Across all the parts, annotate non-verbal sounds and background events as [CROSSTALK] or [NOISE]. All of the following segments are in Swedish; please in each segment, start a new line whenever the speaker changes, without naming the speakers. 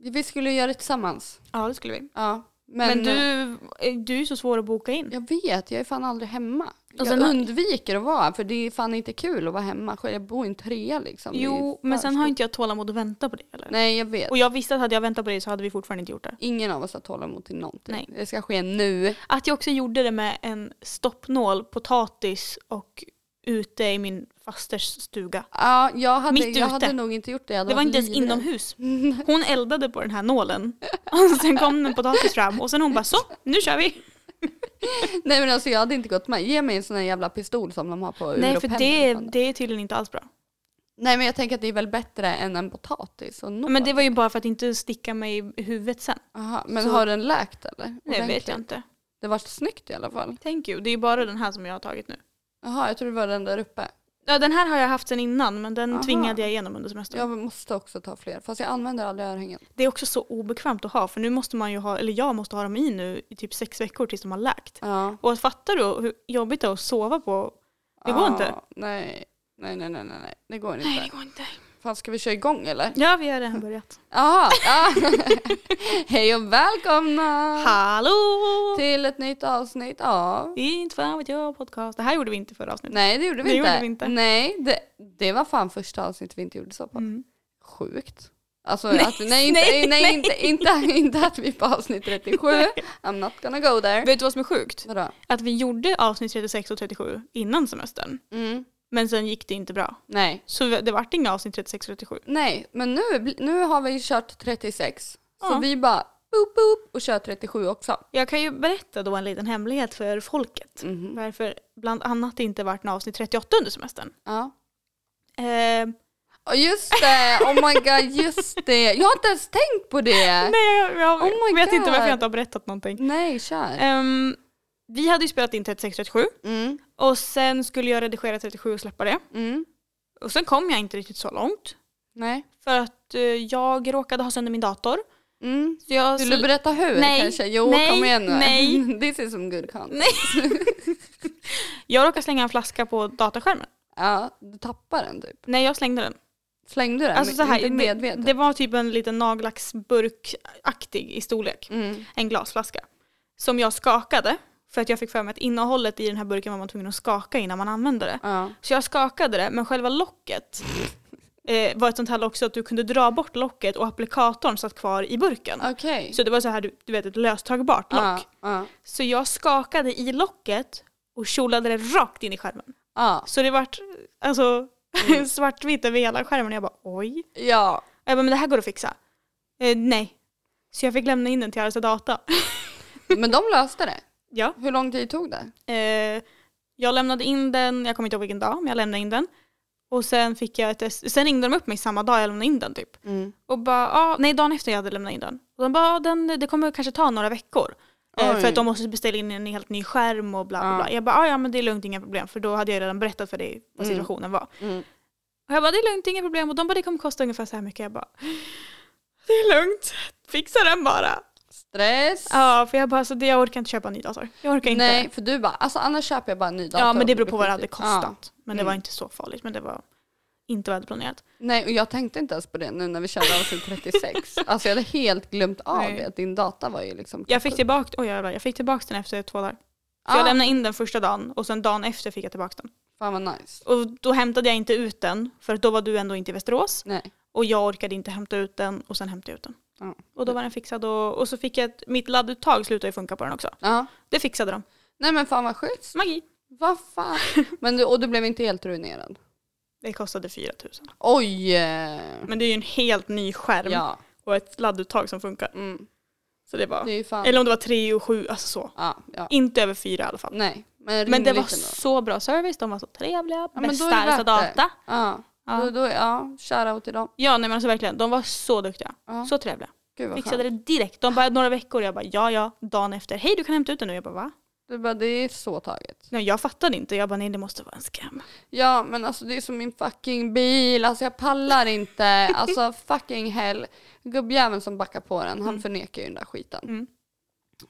vi skulle göra det tillsammans.
Ja det skulle vi.
Ja. Men,
Men, du, eh, du är ju så svår att boka in.
Jag vet, jag är fan aldrig hemma.
Och
jag
sen har-
undviker att vara för det är fan inte kul att vara hemma. själv. Jag bor i en trea liksom. Det är ju
Jo men
för
sen har
stort.
inte jag tålamod att vänta på det eller?
Nej jag vet.
Och jag visste att hade jag väntat på det så hade vi fortfarande inte gjort det.
Ingen av oss har tålamod till någonting.
Nej.
Det ska ske nu.
Att jag också gjorde det med en stoppnål, potatis och ute i min fasters stuga.
Ja, jag hade,
Mitt
jag
ute.
hade nog inte gjort det. Jag hade
Det var
varit
inte ens
livrädd. [LAUGHS]
inomhus. Hon eldade på den här nålen. Och sen kom en potatis fram och sen hon bara så, nu kör vi.
Nej men alltså jag hade inte gått med. Ge mig en sån här jävla pistol som de har på
Nej för
Europem
det,
fortfarande.
det är tydligen inte alls bra.
Nej men jag tänker att det är väl bättre än en potatis och nål.
Men det var ju bara för att inte sticka mig i huvudet sen.
Aha, men
så-
har den läkt eller?
Det vet
Ordentligt?
jag inte.
Det var snyggt i alla fall.
Thank you. Det är ju bara den här som jag har tagit nu.
Jaha, jag tror det var den där uppe.
Ja, den här har jag haft sen innan men den
Aha.
tvingade jag igenom under semestern.
Jag måste också ta fler, fast jag använder aldrig örhängen.
Det är också så obekvämt att ha för nu måste man ju ha, eller jag måste ha dem i nu i typ sex veckor tills de har läkt.
Ja.
Och fattar du hur jobbigt det är att sova på? Det går
Ja,
inte.
Nej. Nej, nej, nej, nej, nej. det går inte.
Nej det går inte.
Fan, ska vi köra igång eller?
Ja vi har [LAUGHS] redan börjat.
Jaha, ja. [LAUGHS] Hej och välkomna
Hallå! Typ.
till ett nytt avsnitt av...
Det är inte fan vet jag podcast. Det här gjorde vi inte förra avsnittet.
Nej, det gjorde vi
Det
inte.
gjorde vi inte.
Nej, det, det var fan första avsnittet vi inte gjorde så på.
Mm.
Sjukt. Alltså, nej, att, nej, inte,
nej,
nej, Inte, inte, inte att vi är på avsnitt 37.
[LAUGHS]
I'm not gonna go there.
Vet du vad som är sjukt?
Vadå?
Att vi gjorde avsnitt 36 och 37 innan semestern.
Mm.
Men sen gick det inte bra.
Nej.
Så det vart inga avsnitt 36 och 37.
Nej, men nu, bli- nu har vi kört 36. Så
Ja.
vi bara boop boop och kör 37 också.
Jag kan ju berätta då en liten hemlighet för folket.
Mhm.
Varför bland annat det inte vart något avsnitt 38 under semestern.
Ja.
Eh,
Och just det, oh my god, just det. Jag har inte ens tänkt på det.
nej, jag, jag
Oh my
vet inte varför
God.
jag inte har berättat någonting.
Nej, kör.
Ehm, vi hade ju spelat in 36 37
Mm,
och sen skulle jag redigera 37 och släppa det.
mm,
Och sen kom jag inte riktigt så långt.
nej.
För att eh, jag råkade ha sönder min dator.
Mm.
Så jag
Vill du berätta hur
Nej,
kanske? Jo,
nej,
kom igen nu. [LAUGHS]
nej.
This is some good content.
Nej. jag råkade slänga en flaska på dataskärmen.
Ja, du tappade den typ.
Nej, jag slängde den.
Slängde du den?
Alltså så här,
inte
det,
medvetet?
det var typ en liten nagellacksburkaktig i storlek.
Mm.
En glasflaska. Som jag skakade. För att jag fick för mig att innehållet i den här burken var man tvungen att skaka innan man använde det.
Ja.
Så jag skakade det, men själva locket eh, var ett sånt här lock så att du kunde dra bort locket och applikatorn satt kvar i burken.
Okej.
Så det var så här, du, du vet, ett löstagbart lock.
Ja, ja,
Så jag skakade i locket och kjolade det rakt in i skärmen.
ja.
Så det vart alltså, [LAUGHS] svartvitt över hela skärmen och jag bara oj.
ja.
Jag bara, men det här går att fixa. Eh, nej. Så jag fick lämna in den till Arsa Data.
Men de löste det.
ja.
Hur lång tid tog det?
Eh, jag lämnade in den, jag kommer inte ihåg vilken dag, men jag lämnade in den. Och sen fick jag ett S- sen ringde de upp mig samma dag jag lämnade in den typ. Och bara, ah, nej dagen efter jag hade lämnat in den. Och de bara, ah, den, det kommer kanske ta några veckor. Eh,
Oj.
för att de måste beställa in en helt ny skärm och bla bla
Ja.
bla. Jag bara, ah, ja men det är lugnt, inga problem. För då hade jag redan berättat för dig vad
Mm.
situationen var.
Mm.
Och jag bara, det är lugnt, inga problem. Och de bara, det kommer kosta ungefär så här mycket. Jag bara, det är lugnt, fixa den bara.
Stress.
Ja, för jag bara, alltså, det- jag orkar inte köpa en ny dator. Jag orkar inte.
Nej, för du bara, alltså annars köper jag bara en ny dator.
Ja men det beror på
Precis.
vad det hade kostat.
Ja.
Men det var
Mm.
inte så farligt. Men det var inte vad jag hade planerat.
Nej, och jag tänkte inte ens på det nu när vi körde avsnitt
[LAUGHS]
36. alltså jag hade helt glömt av
Nej.
det, att din data var ju liksom...
Jag fick tillbaka, oj, jävlar, jag fick tillbaka den efter två dagar. För
Ah.
jag lämnade in den första dagen och sen dagen efter fick jag tillbaka den.
Fan vad nice.
Och då hämtade jag inte ut den för att då var du ändå inte i Västerås.
Nej.
Och jag orkade inte hämta ut den och sen hämtade jag ut den.
Ja.
Och då var den fixad och, och så fick jag ett, mitt ladduttag slutade ju funka på den också.
Ja.
Det fixade de.
Nej men fan vad schysst.
Magi.
Vad fan.
[LAUGHS]
Men du, och du blev inte helt ruinerad?
Det kostade 4 000.
Oj! eh,
Men det är ju en helt ny skärm
Ja.
och ett ladduttag som funkar.
Mm.
Så det var,
Det är ju fan...
eller om det var 3 och 7, alltså så.
Ja, ja.
Inte över 4 i alla fall.
Nej, men
Men det var
rimligt ändå.
så bra service, de var så trevliga,
men då
bästa
är det värt det.
Arsa data.
Ja.
Ja.
Då, då, ja, shoutout till dem.
Ja nej men alltså verkligen, de var så duktiga.
Ja.
Så trevliga.
Gud vad
Fixade
skönt.
det direkt. De bara några veckor, jag bara ja ja, dagen efter. Hej du kan hämta ut den nu. Jag bara va?
Du bara, det är så taget.
Nej jag fattade inte, jag bara nej det måste vara en scam.
Ja men alltså det är som min fucking bil, alltså jag pallar
[LAUGHS]
inte. Alltså fucking hell. Gubbjäveln som backar på den, han förnekar ju den där skiten.
Mm.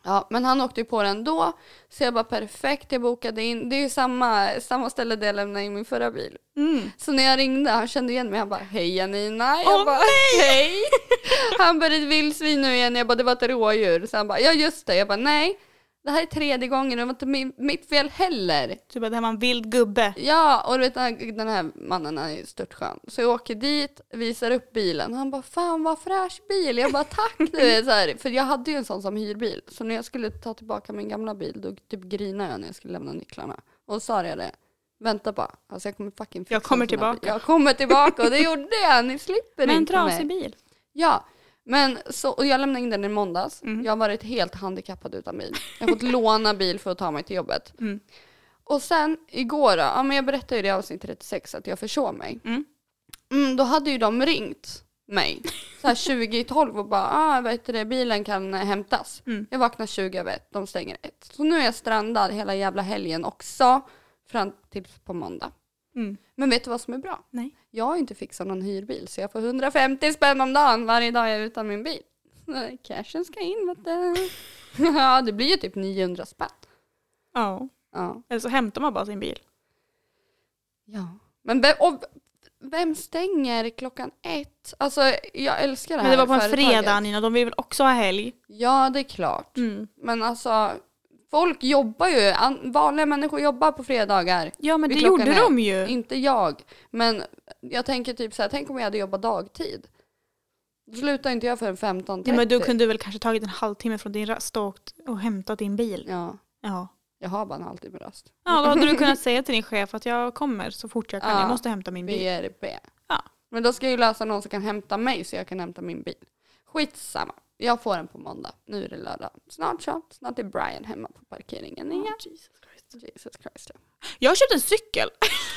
Ja, men han åkte ju på den då. Så jag bara perfekt, jag bokade in. Det är ju samma, samma ställe där jag lämnade in min förra bil.
Mm.
Så när jag ringde, han kände igen mig. Han bara hej Janina. Jag
Åh,
bara hej. [LAUGHS]
[LAUGHS]
Han bara det är ett vildsvin nu igen. Jag bara det var ett rådjur. Så han bara ja just det. Jag bara nej. Det här är tredje gången och det var inte min, mitt fel heller.
Du bara, det här var en vild gubbe.
Ja och du vet den här, den här mannen han är ju störtskön. Så jag åker dit, visar upp bilen. Han bara fan vad fräsch bil. Jag bara tack du vet, så här, För jag hade ju en sån som hyrbil. Så när jag skulle ta tillbaka min gamla bil då typ grinade jag när jag skulle lämna nycklarna. Och sa jag det. Vänta bara, alltså jag kommer fucking fixa
Jag kommer
en sån här
tillbaka."
bil. Jag kommer tillbaka och det gjorde jag. Ni slipper
Med en
inte mig.
trasig bil.
Ja, men så, och jag lämnade in den i måndags.
Mm.
Jag har varit helt handikappad utan bil. Jag har fått [LAUGHS] låna bil för att ta mig till jobbet.
Mm.
Och sen igår då, ja, men jag berättade ju det i avsnitt 36 att jag försov mig.
Mm.
Mm, då hade ju de ringt mig så här 20 i 12 och bara ah, vad heter det, bilen kan eh, hämtas.
Mm.
Jag vaknar 20 över ett, de stänger ett. Så nu är jag strandad hela jävla helgen också fram till på måndag.
Mm.
Men vet du vad som är bra?
Nej.
Jag har inte fixat någon hyrbil så jag får 150 spänn om dagen varje dag jag är utan min bil. Så Cashen ska in vet du. [LAUGHS] ja det blir ju typ 900 spänn.
Ja.
Ja.
Eller så hämtar man bara sin bil.
ja. Men vem, och vem stänger klockan ett? Alltså jag älskar det
Men
här
det var på en
företaget.
fredag Nina, de vill väl också ha helg?
Ja det är klart. Men alltså folk jobbar ju, an, vanliga människor jobbar på fredagar.
Ja men
Vid
det
klockan
gjorde
ett.
de ju.
Inte jag. Men jag tänker typ så här, tänk om jag hade jobbat dagtid. Då slutar inte jag förrän 15.30.
Ja, men du kunde väl kanske tagit en halvtimme från din rast och, åkt och hämtat din bil.
Ja,
Ja.
jag har bara en halvtimme rast.
ja, då hade du kunnat säga till din chef att jag kommer så fort jag kan,
Ja.
jag måste hämta min bil.
BRB.
Mm. Ja.
Men då ska jag ju lösa någon som kan hämta mig så jag kan hämta min bil. Skitsamma. Jag får den på måndag. Nu är det lördag. Snart så. Snart är Brian hemma på parkeringen igen.
Ja, Jesus Christ.
Jesus Christ.
Jag köpte en cykel,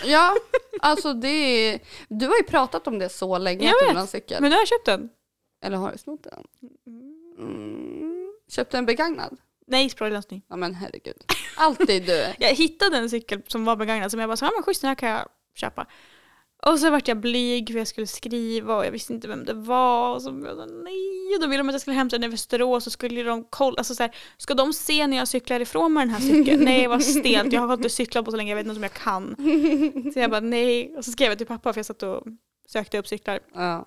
Ja, alltså det är... Du har ju pratat om det så länge.
Jag
att du
vet.
vill ha en cykel.
men nu har jag köpt den.
Eller har du snott den? Mm. Köpte en begagnad?
Nej, sprillans ny.
Ja men herregud. Alltid
[LAUGHS]
du.
Jag hittade en cykel som var begagnad som jag bara så, ja men schysst den här kan jag köpa. Och så vart jag blyg för jag skulle skriva och jag visste inte vem det var. Och så blev jag nej, och då ville de att jag skulle hämta den i Västerås och skulle ju de kolla, alltså så här, ska de se när jag cyklar ifrån med den här cykeln? nej vad stelt, jag har inte cyklat på så länge, jag vet inte om jag kan. Så jag bara nej, och så skrev jag till pappa för jag satt och sökte upp cyklar.
Ja.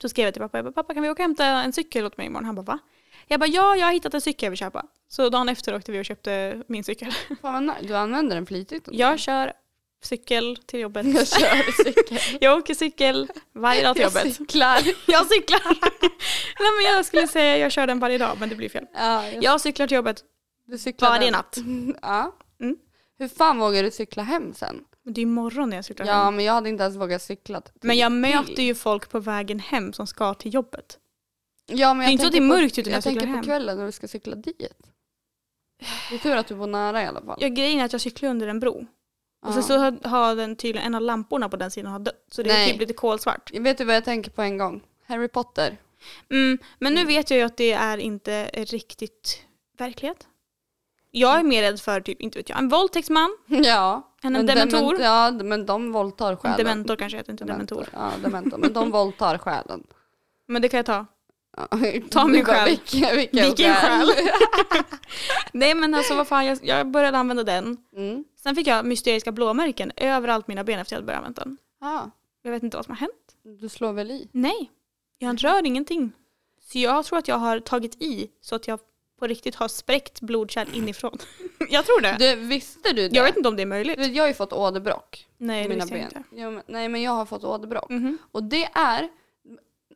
Så skrev jag till pappa, jag bara, pappa kan vi åka och hämta en cykel åt mig imorgon? Han bara va? Jag bara ja, jag har hittat en cykel jag vill köpa. Så dagen efter åkte vi och köpte min cykel. [LAUGHS]
Fan, vad nice. du använder den flitigt.
Jag kör cykel till jobbet.
Jag kör cykel.
[LAUGHS] Jag åker cykel varje dag till
Jag
jobbet.
cyklar.
[LAUGHS] Jag cyklar. Nej men jag skulle säga jag kör den varje dag men det blir fel.
Ja, jag-
Jag cyklar till jobbet
du cyklar
varje
den.
natt.
[LAUGHS] Ja.
Mm.
Hur fan vågar du cykla hem sen?
Men det är imorgon när jag cyklar
Ja,
hem.
men jag hade inte ens vågat cykla. typ. till-
Men jag möter ju folk på vägen hem som ska till jobbet.
ja, men
Det är inte så att det är
tänker på-
mörkt ute
Jag
när jag cyklar
tänker på
hem.
kvällen när du ska cykla dit. Det är tur att du bor nära i alla fall.
Jag, grejen är att jag cyklar under en bro. Och
Ja.
sen så har, har den tydligen, en av lamporna på den sidan har dött. Så det är
Nej.
typ lite kolsvart.
Vet du vad jag tänker på en gång? Harry Potter. [LAUGHS]
Mm, men nu vet jag ju att det är inte riktigt verklighet. Jag är mer rädd för typ, inte vet jag, en våldtäktsman
Ja.
En
men
dementor?
dement- Ja, men de våldtar själen.
Dementor kanske heter, inte dementor.
Ja, dementor. Men de våldtar själen.
Men det kan jag ta.
Ja.
Ta min
[LAUGHS] Du bara,
själ.
Vilken, vilken,
Vilken själ! [LAUGHS] Nej men alltså vad fan, jag, jag började använda den.
Mm.
Sen fick jag mysteriska blåmärken överallt mina ben efter jag hade börjat använda den.
Ja,
Jag vet inte vad som har hänt.
du slår väl i?
Nej, jag rör ingenting. Så jag tror att jag har tagit i så att jag på riktigt har spräckt blodkärl inifrån. [LAUGHS] jag tror det.
Du, visste du det?
Jag vet inte om det är möjligt.
Vet, Jag har ju fått åderbråck.
Nej,
i
det
mina
visste jag
ben.
inte.
Jo, men, nej men jag har fått åderbråck.
Mhm.
Och det är,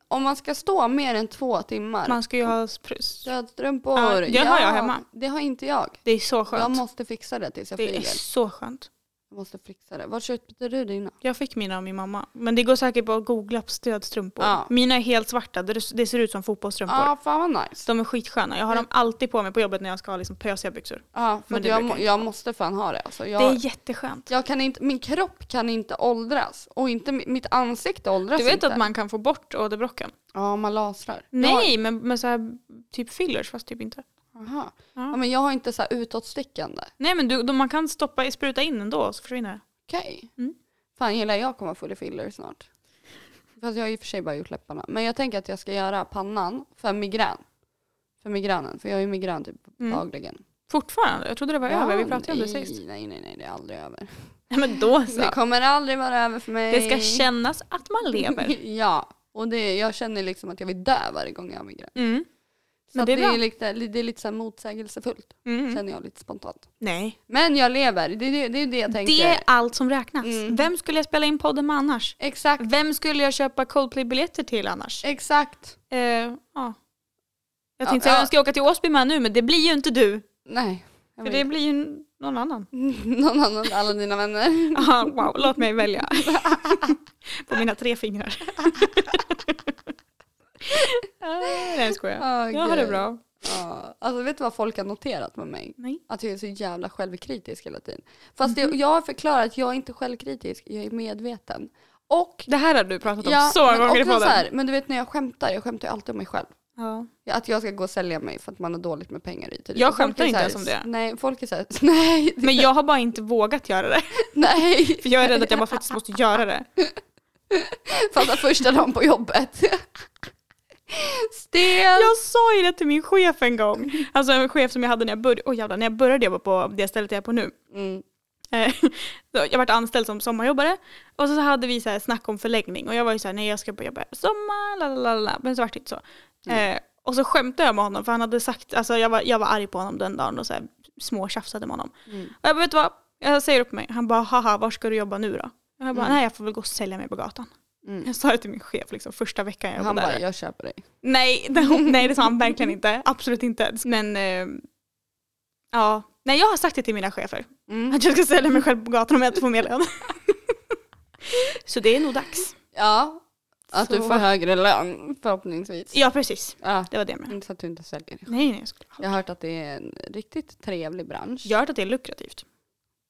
om man ska stå mer än två timmar,
Man ska ju ha spruss.
stödstrumpor.
Ja, det har jag hemma.
Det har inte jag.
Det är så
Jag
skönt.
måste fixa det tills jag
Det är
flyger.
så skönt.
Jag måste fixa det. Var köpte du dina?
Jag fick mina av min mamma. Men det går säkert bara att googla på stödstrumpor.
Ja.
Mina är helt svarta, det det ser ut som fotbollsstrumpor.
Ja, fan vad nice.
Så de är skitsköna. Jag har dem alltid på mig på jobbet när jag ska ha liksom pösiga byxor.
Ja, för
Men
att
det
jag,
brukar
må, jag måste fan ha det. Alltså, jag,
Det är jätteskönt.
jag kan inte, min kropp kan inte åldras och inte mi- mitt ansikte åldras
Du vet
inte.
att man kan få bort åderbråcken?
Ja, man lasrar.
Nej, men med så här, typ fillers fast typ inte.
Jag, aha.
Ja.
Ja, men jag har inte så här utåtstickande.
Nej men du, de, man kan stoppa, spruta in ändå så försvinner det.
Okej.
Mm.
Fan gillar jag kommer full i filler snart. Fast jag har i och för sig bara gjort läpparna. Men jag tänker att jag ska göra pannan för migrän. för migränen. För jag har ju migrän typ
Mm.
dagligen.
Fortfarande? Jag trodde det var över. Vi pratade ju om det
nej,
sist.
Nej, nej, nej, det är aldrig över.
Nej men då
[LAUGHS]
så.
Det kommer aldrig vara över för mig.
Det ska kännas att man lever.
[LAUGHS] ja, och det, jag känner liksom att jag vill dö varje gång jag har migrän.
Mm.
Så
Men
att
det
det,
är
är
bra.
lite, det är lite så här motsägelsefullt,
Mm.
känner jag lite spontant.
Nej.
Men jag lever, det är det, det, är det jag tänker.
Det är allt som räknas.
Mm.
Vem skulle jag spela in podden med annars?
Exakt,
Vem skulle jag köpa Coldplay-biljetter till annars?
exakt.
Eh, ja. Jag
Ja,
tänkte säga
ja.
jag ska åka till Åsby med nu men det blir ju inte du.
Nej. jag vet
För det
inte.
blir ju någon annan.
[LAUGHS] Någon annan, alla dina vänner.
Aha, wow, låt
[LAUGHS]
mig välja. På mina tre fingrar. Ah, Nej jag skojar.
Åh,
Jag har det
gud.
bra.
Ja. Alltså vet du vad folk har noterat med mig?
Nej.
Att jag är så jävla självkritisk hela tiden. Fast
Mhm.
jag, jag har förklarat att jag är inte självkritisk, jag är medveten. Och,
Det här har du pratat om
ja,
så många
men
gånger i
också så
podden.
här, men du vet när jag skämtar, jag skämtar ju alltid om mig själv.
Ja.
Ja, Att jag ska gå och sälja mig för att man har dåligt med pengar i tid.
Jag
Och folk
skämtar
är så
inte
här,
ens om det.
Nej, folk är såhär, [LAUGHS] nej,
Men jag har bara inte vågat göra det.
nej.
För jag är rädd att jag bara faktiskt måste göra det.
Fast att första dagen på jobbet. [LAUGHS] Stel.
Jag sa ju det till min chef en gång. Alltså en chef som jag hade när jag började, oh, jävlar, när jag började jobba på det stället jag är på nu.
Mm.
Eh, [LAUGHS] så Jag vart anställd som sommarjobbare och så hade vi så här snack om förläggning och jag var ju så här, nej jag ska börja jobba sommar, la, la, la, la, men så vart det inte så.
Mm.
Eh, och så skämtade jag med honom för han hade sagt, alltså jag var, jag var arg på honom den dagen och så här, småtjafsade med honom.
Mm.
Och jag bara, vet du vad, jag säger upp mig. Han bara, haha var ska du jobba nu då? Och jag bara, nej jag får väl gå och sälja mig på gatan.
Mm.
Jag sa det till min chef liksom, första veckan jag
Han
jobbade där.
bara, jag köper dig.
Nej, det, nej, det sa han [LAUGHS] verkligen inte. Absolut inte. Men eh, ja, nej jag har sagt det till mina chefer.
Mm.
Att jag ska sälja mig själv på gatan om jag inte får mer lön. [LAUGHS] Så det är nog dags.
Ja, att du
Så-
får högre lön förhoppningsvis.
Ja, precis.
Ja.
Det var det med.
Inte så att du inte säljer.
Nej, nej. Jag, skulle...
Jag har hört att det är en riktigt trevlig bransch.
jag har hört att det är lukrativt.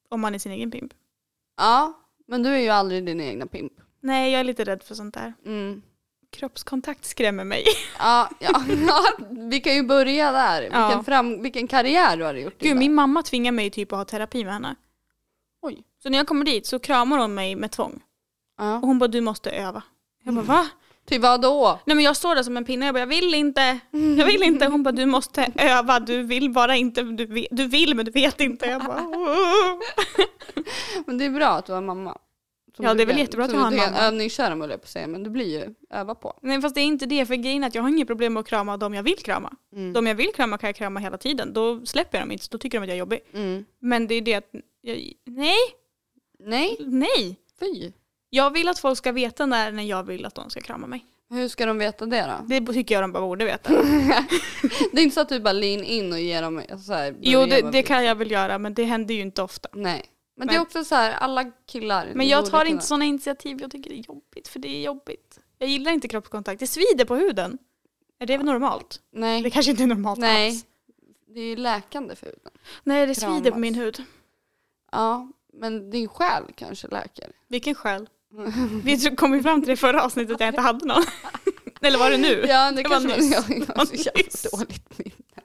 Om man är sin egen pimp.
Ja, men du är ju aldrig din egna pimp.
Nej, jag är lite rädd för sånt där.
Mm.
Kroppskontakt skrämmer [LAUGHS] mig.
Ja, ja, [LAUGHS] ja, vi kan ju börja där.
Ja.
Vilken, fram, vilken karriär du har gjort.
Gud,
idag.
min mamma tvingar mig typ att ha terapi med henne.
Oj.
Så när jag kommer dit så kramar hon mig med tvång.
Ja.
Och hon bara, du måste öva. Jag bara, va?
Till vad då?
Nej men jag står där som en pinne, jag bara jag vill inte, jag vill inte. Hon bara du måste öva, du vill bara inte, du, ve- du vill men du vet inte. Jag bara, "Åh."
Men det är bra att du har mamma. Som
Ja,
du
det är väl
kan-
jättebra att
som
jag
du
har en
kan
mamma.
Övningsköra höll jag på att säga, men du blir ju öva på.
Nej fast det är inte det, för grejen är att jag har inget problem med att krama de jag vill krama.
Mm.
De jag vill krama kan jag krama hela tiden, då släpper jag dem inte, så då tycker de att jag är jobbig.
Mm.
Men det är det att, jag, nej,
Nej,
nej.
fy.
Jag vill att folk ska veta när, när jag vill att de ska krama mig.
Hur ska de veta det då?
Det tycker jag de bara borde veta.
Det är inte så att du bara lean in och ger dem alltså så här,
Jo
börja
det,
med- typ-
det kan jag väl göra men det händer ju inte ofta.
Nej. Men, det
Men-
är också så här, alla killar.
Men jag
borde
tar
kunna-
inte sådana initiativ, jag tycker det är jobbigt för det är jobbigt. Jag gillar inte kroppskontakt, det svider på huden. Är det väl normalt?
Nej.
Det kanske inte är normalt
Nej.
alls.
Det är ju läkande för huden.
Nej, det svider på
Kramas.
min hud.
Ja, men din själ kanske
[LAUGHS]
läker.
Vilken själ. Vi tro- kom ju fram till det i förra avsnittet att jag inte hade [LAUGHS] någon. Eller var det nu?
[LAUGHS] Ja, det,
Det var
kanske
nyss.
jag, jag har så
Det var nyss.
jävla dåligt minne.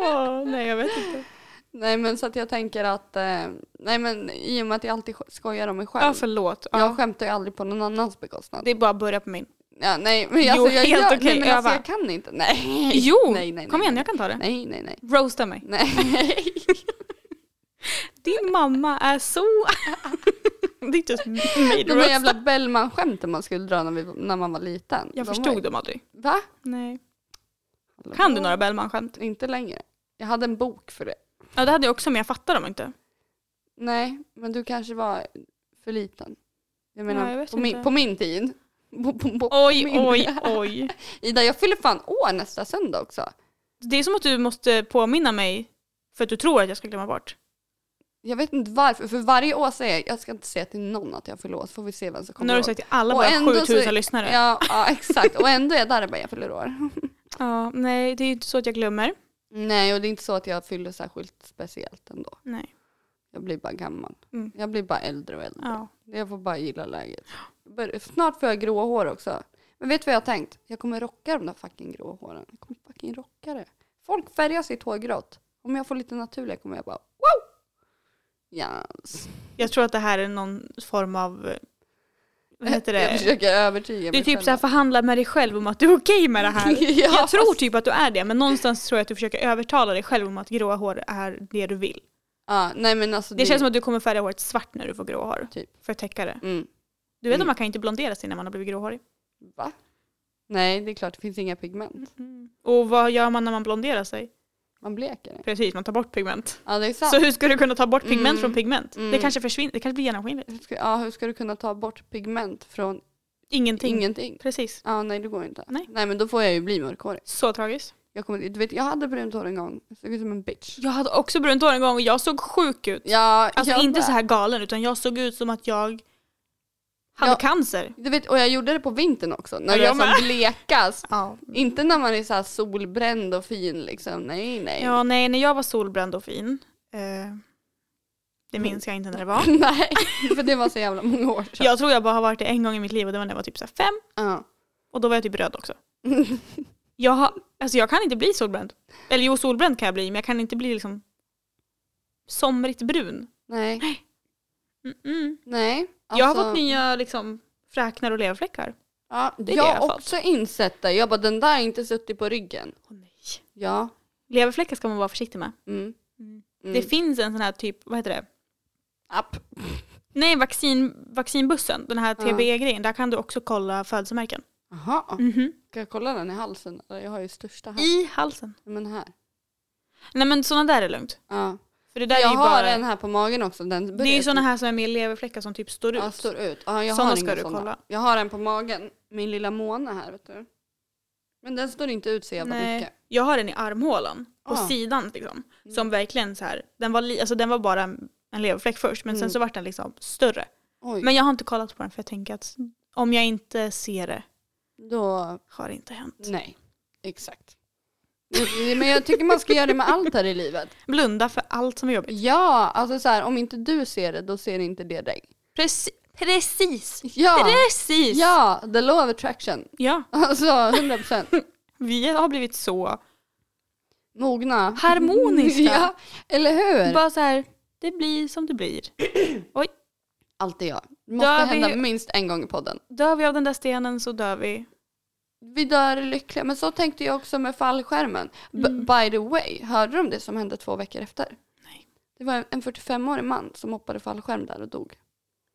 Åh, Ah, nej, jag vet inte.
Nej, men så att jag tänker att, eh, nej men i och med att jag alltid skojar om mig själv.
Ja, förlåt.
Jag
Ja.
skämtar ju aldrig på någon annans bekostnad.
Det är bara att börja på min.
Ja, nej, men
Jo,
alltså, jag,
helt
gör-
okej,
nej, men alltså,
öva.
jag kan inte. Nej.
Jo,
nej, nej,
kom
nej,
igen, jag kan ta det.
Nej, nej, nej.
Roasta mig. [LAUGHS]
Nej.
Din mamma är så... [LAUGHS] det är typ [LAUGHS] just made
De här
roast.
jävla Bellman-skämten man skulle dra när, vi, när man var liten.
Jag
De
förstod
var,
dem aldrig.
Va?
Nej. Kan du några Bellman-skämt?
Inte längre. Jag hade en bok för det.
Ja det hade jag också men jag fattar dem inte.
Nej, men du kanske var för liten. Jag menar,
Ja, jag vet
på, min,
inte.
på min tid. På, på, på
Oj
min. [LAUGHS]
oj oj.
Ida, jag fyller fan år nästa söndag också.
Det är som att du måste påminna mig för att du tror att jag ska glömma bort.
Jag vet inte varför, för varje år säger jag, jag ska inte säga till någon att jag fyller år, så får vi se vem som
Nu
kommer
har du
ihåg.
sagt till alla
Och
våra
ändå
7000
så-
lyssnare. Ja.
Ja, ja, exakt. Och ändå är jag där och bara, jag fyller år. [LAUGHS]
nej det är ju inte så att jag glömmer.
Nej, och det är inte så att jag fyller särskilt speciellt ändå.
Nej.
Jag blir bara gammal.
Mm.
Jag blir bara äldre och äldre.
Ja.
Jag får bara gilla läget. Jag bör- Snart får jag grå hår också. Men vet du vad jag har tänkt? Jag kommer rocka de där fucking grå håren. Jag kommer fucking rocka det. Folk färgar sitt hår grått. Om jag får lite naturliga kommer jag bara wow! Yes.
Jag tror att det här är någon form av eh, vad heter
Jag
det?
försöker övertyga
Det är
mig
typ
själv
så här,
att-
förhandla med dig själv om att du är okej med det här.
[LAUGHS] Ja,
jag tror
fast-
typ att du är det, men någonstans tror jag att du försöker övertala dig själv om att gråa hår är det du vill.
Ja, nej men alltså.
Det känns som att du kommer färga håret svart när du får gråa hår.
Typ.
För att täcka det.
Mm.
Du vet att
Mm.
man kan inte blondera sig när man har blivit gråhårig.
Va? Nej, det är klart det finns inga pigment.
Mm-hmm. Och vad gör man när man blonderar sig?
Man bleker det.
Precis, man tar bort pigment.
Ja, det är sant.
Så hur ska du kunna ta bort pigment
Mm.
från pigment?
Mm.
Det kanske försvinner, det kanske blir genomskinligt.
Hur ska, ja, hur ska du kunna ta bort pigment från
Ingenting.
ingenting?
Precis.
Ja, nej det går inte.
Nej.
men då får jag ju bli mörkhårig.
Så tragiskt.
Jag, kommer, du vet, jag hade brunt hår en gång. Jag såg ut som en bitch.
Jag hade också brunt hår en gång och jag såg sjuk ut.
Ja,
Alltså
jag
inte
med.
så här galen utan jag såg ut som att jag hade
Ja.
cancer.
Du vet, och jag gjorde det på vintern också. När
Ja,
jag
jag
som
med.
blekast.
Ja.
Inte när man är så här solbränd och fin liksom. Nej, nej.
ja, nej, när jag var solbränd och fin. Eh, det
Mm.
minns jag inte när det
[LAUGHS]
var.
nej, för det var så jävla många år sedan.
Jag tror jag bara har varit det en gång i mitt liv och det var när jag var typ så här fem
Ja.
och då var jag typ
[LAUGHS]
röd också. Jag, har, alltså jag kan inte bli solbränd. Eller jo, solbränd kan jag bli men jag kan inte bli liksom somrigt brun.
Nej,
Mm-mm.
nej.
jag har
Alltså-
fått nya liksom, fräknar och leverfläckar.
Ja,
det är
jag
det
har
jag har
också insett det. Jag bara, den där har inte suttit på ryggen.
Åh nej.
Ja.
Leverfläckar ska man vara försiktig med.
Mm.
Mm.
Mm.
Det finns en sån här typ, vad heter det?
App.
Nej, vaccin, vaccinbussen, den här
Ja.
TBE-grejen, där kan du också kolla födelsemärken.
Jaha,
Mhm.
ska jag kolla den i halsen? Eller, Jag har ju största hals.
I halsen.
Men här.
Nej men sådana där är lugnt.
Ja.
För det där
jag
är ju
har
bara...
en här på magen också. Den
Det är ju sådana här som är med leverfläckar som typ står ut.
Ja, står ut. Ja, jag
Såna
har
ska
inga
du
såna.
kolla.
Jag har en på magen. Min lilla måne här vet du. Men den står inte ut så jävla mycket.
Nej, jag har den i armhålan, på
Ah.
sidan liksom. Som verkligen så här, den var, li, alltså, den var bara en leverfläck först men
Mm.
sen så vart den liksom större.
Oj,
Men jag har inte kollat på den för jag tänker att om jag inte ser det
då.
har det inte hänt.
Nej, exakt. Men jag tycker man ska göra det med allt här i livet.
Blunda för allt som är jobbigt.
Ja, alltså så här, om inte du ser det då ser inte det dig.
Preci- precis!
Ja,
Precis!
ja, the law of attraction.
ja,
Alltså 100%.
vi har blivit så
Mogna. [LAUGHS]
harmoniska.
Ja, eller hur?
Bara så här, det blir som det blir.
Alltid jag. Det måste
Dör vi-
hända minst en gång i podden.
Dör vi av den där stenen så dör vi.
Vi dör lyckliga. Men så tänkte jag också med fallskärmen. B-
Mm.
By the way, hörde du om det som hände två veckor efter?
Nej.
Det var en- en 45-årig man som hoppade fallskärm där och dog.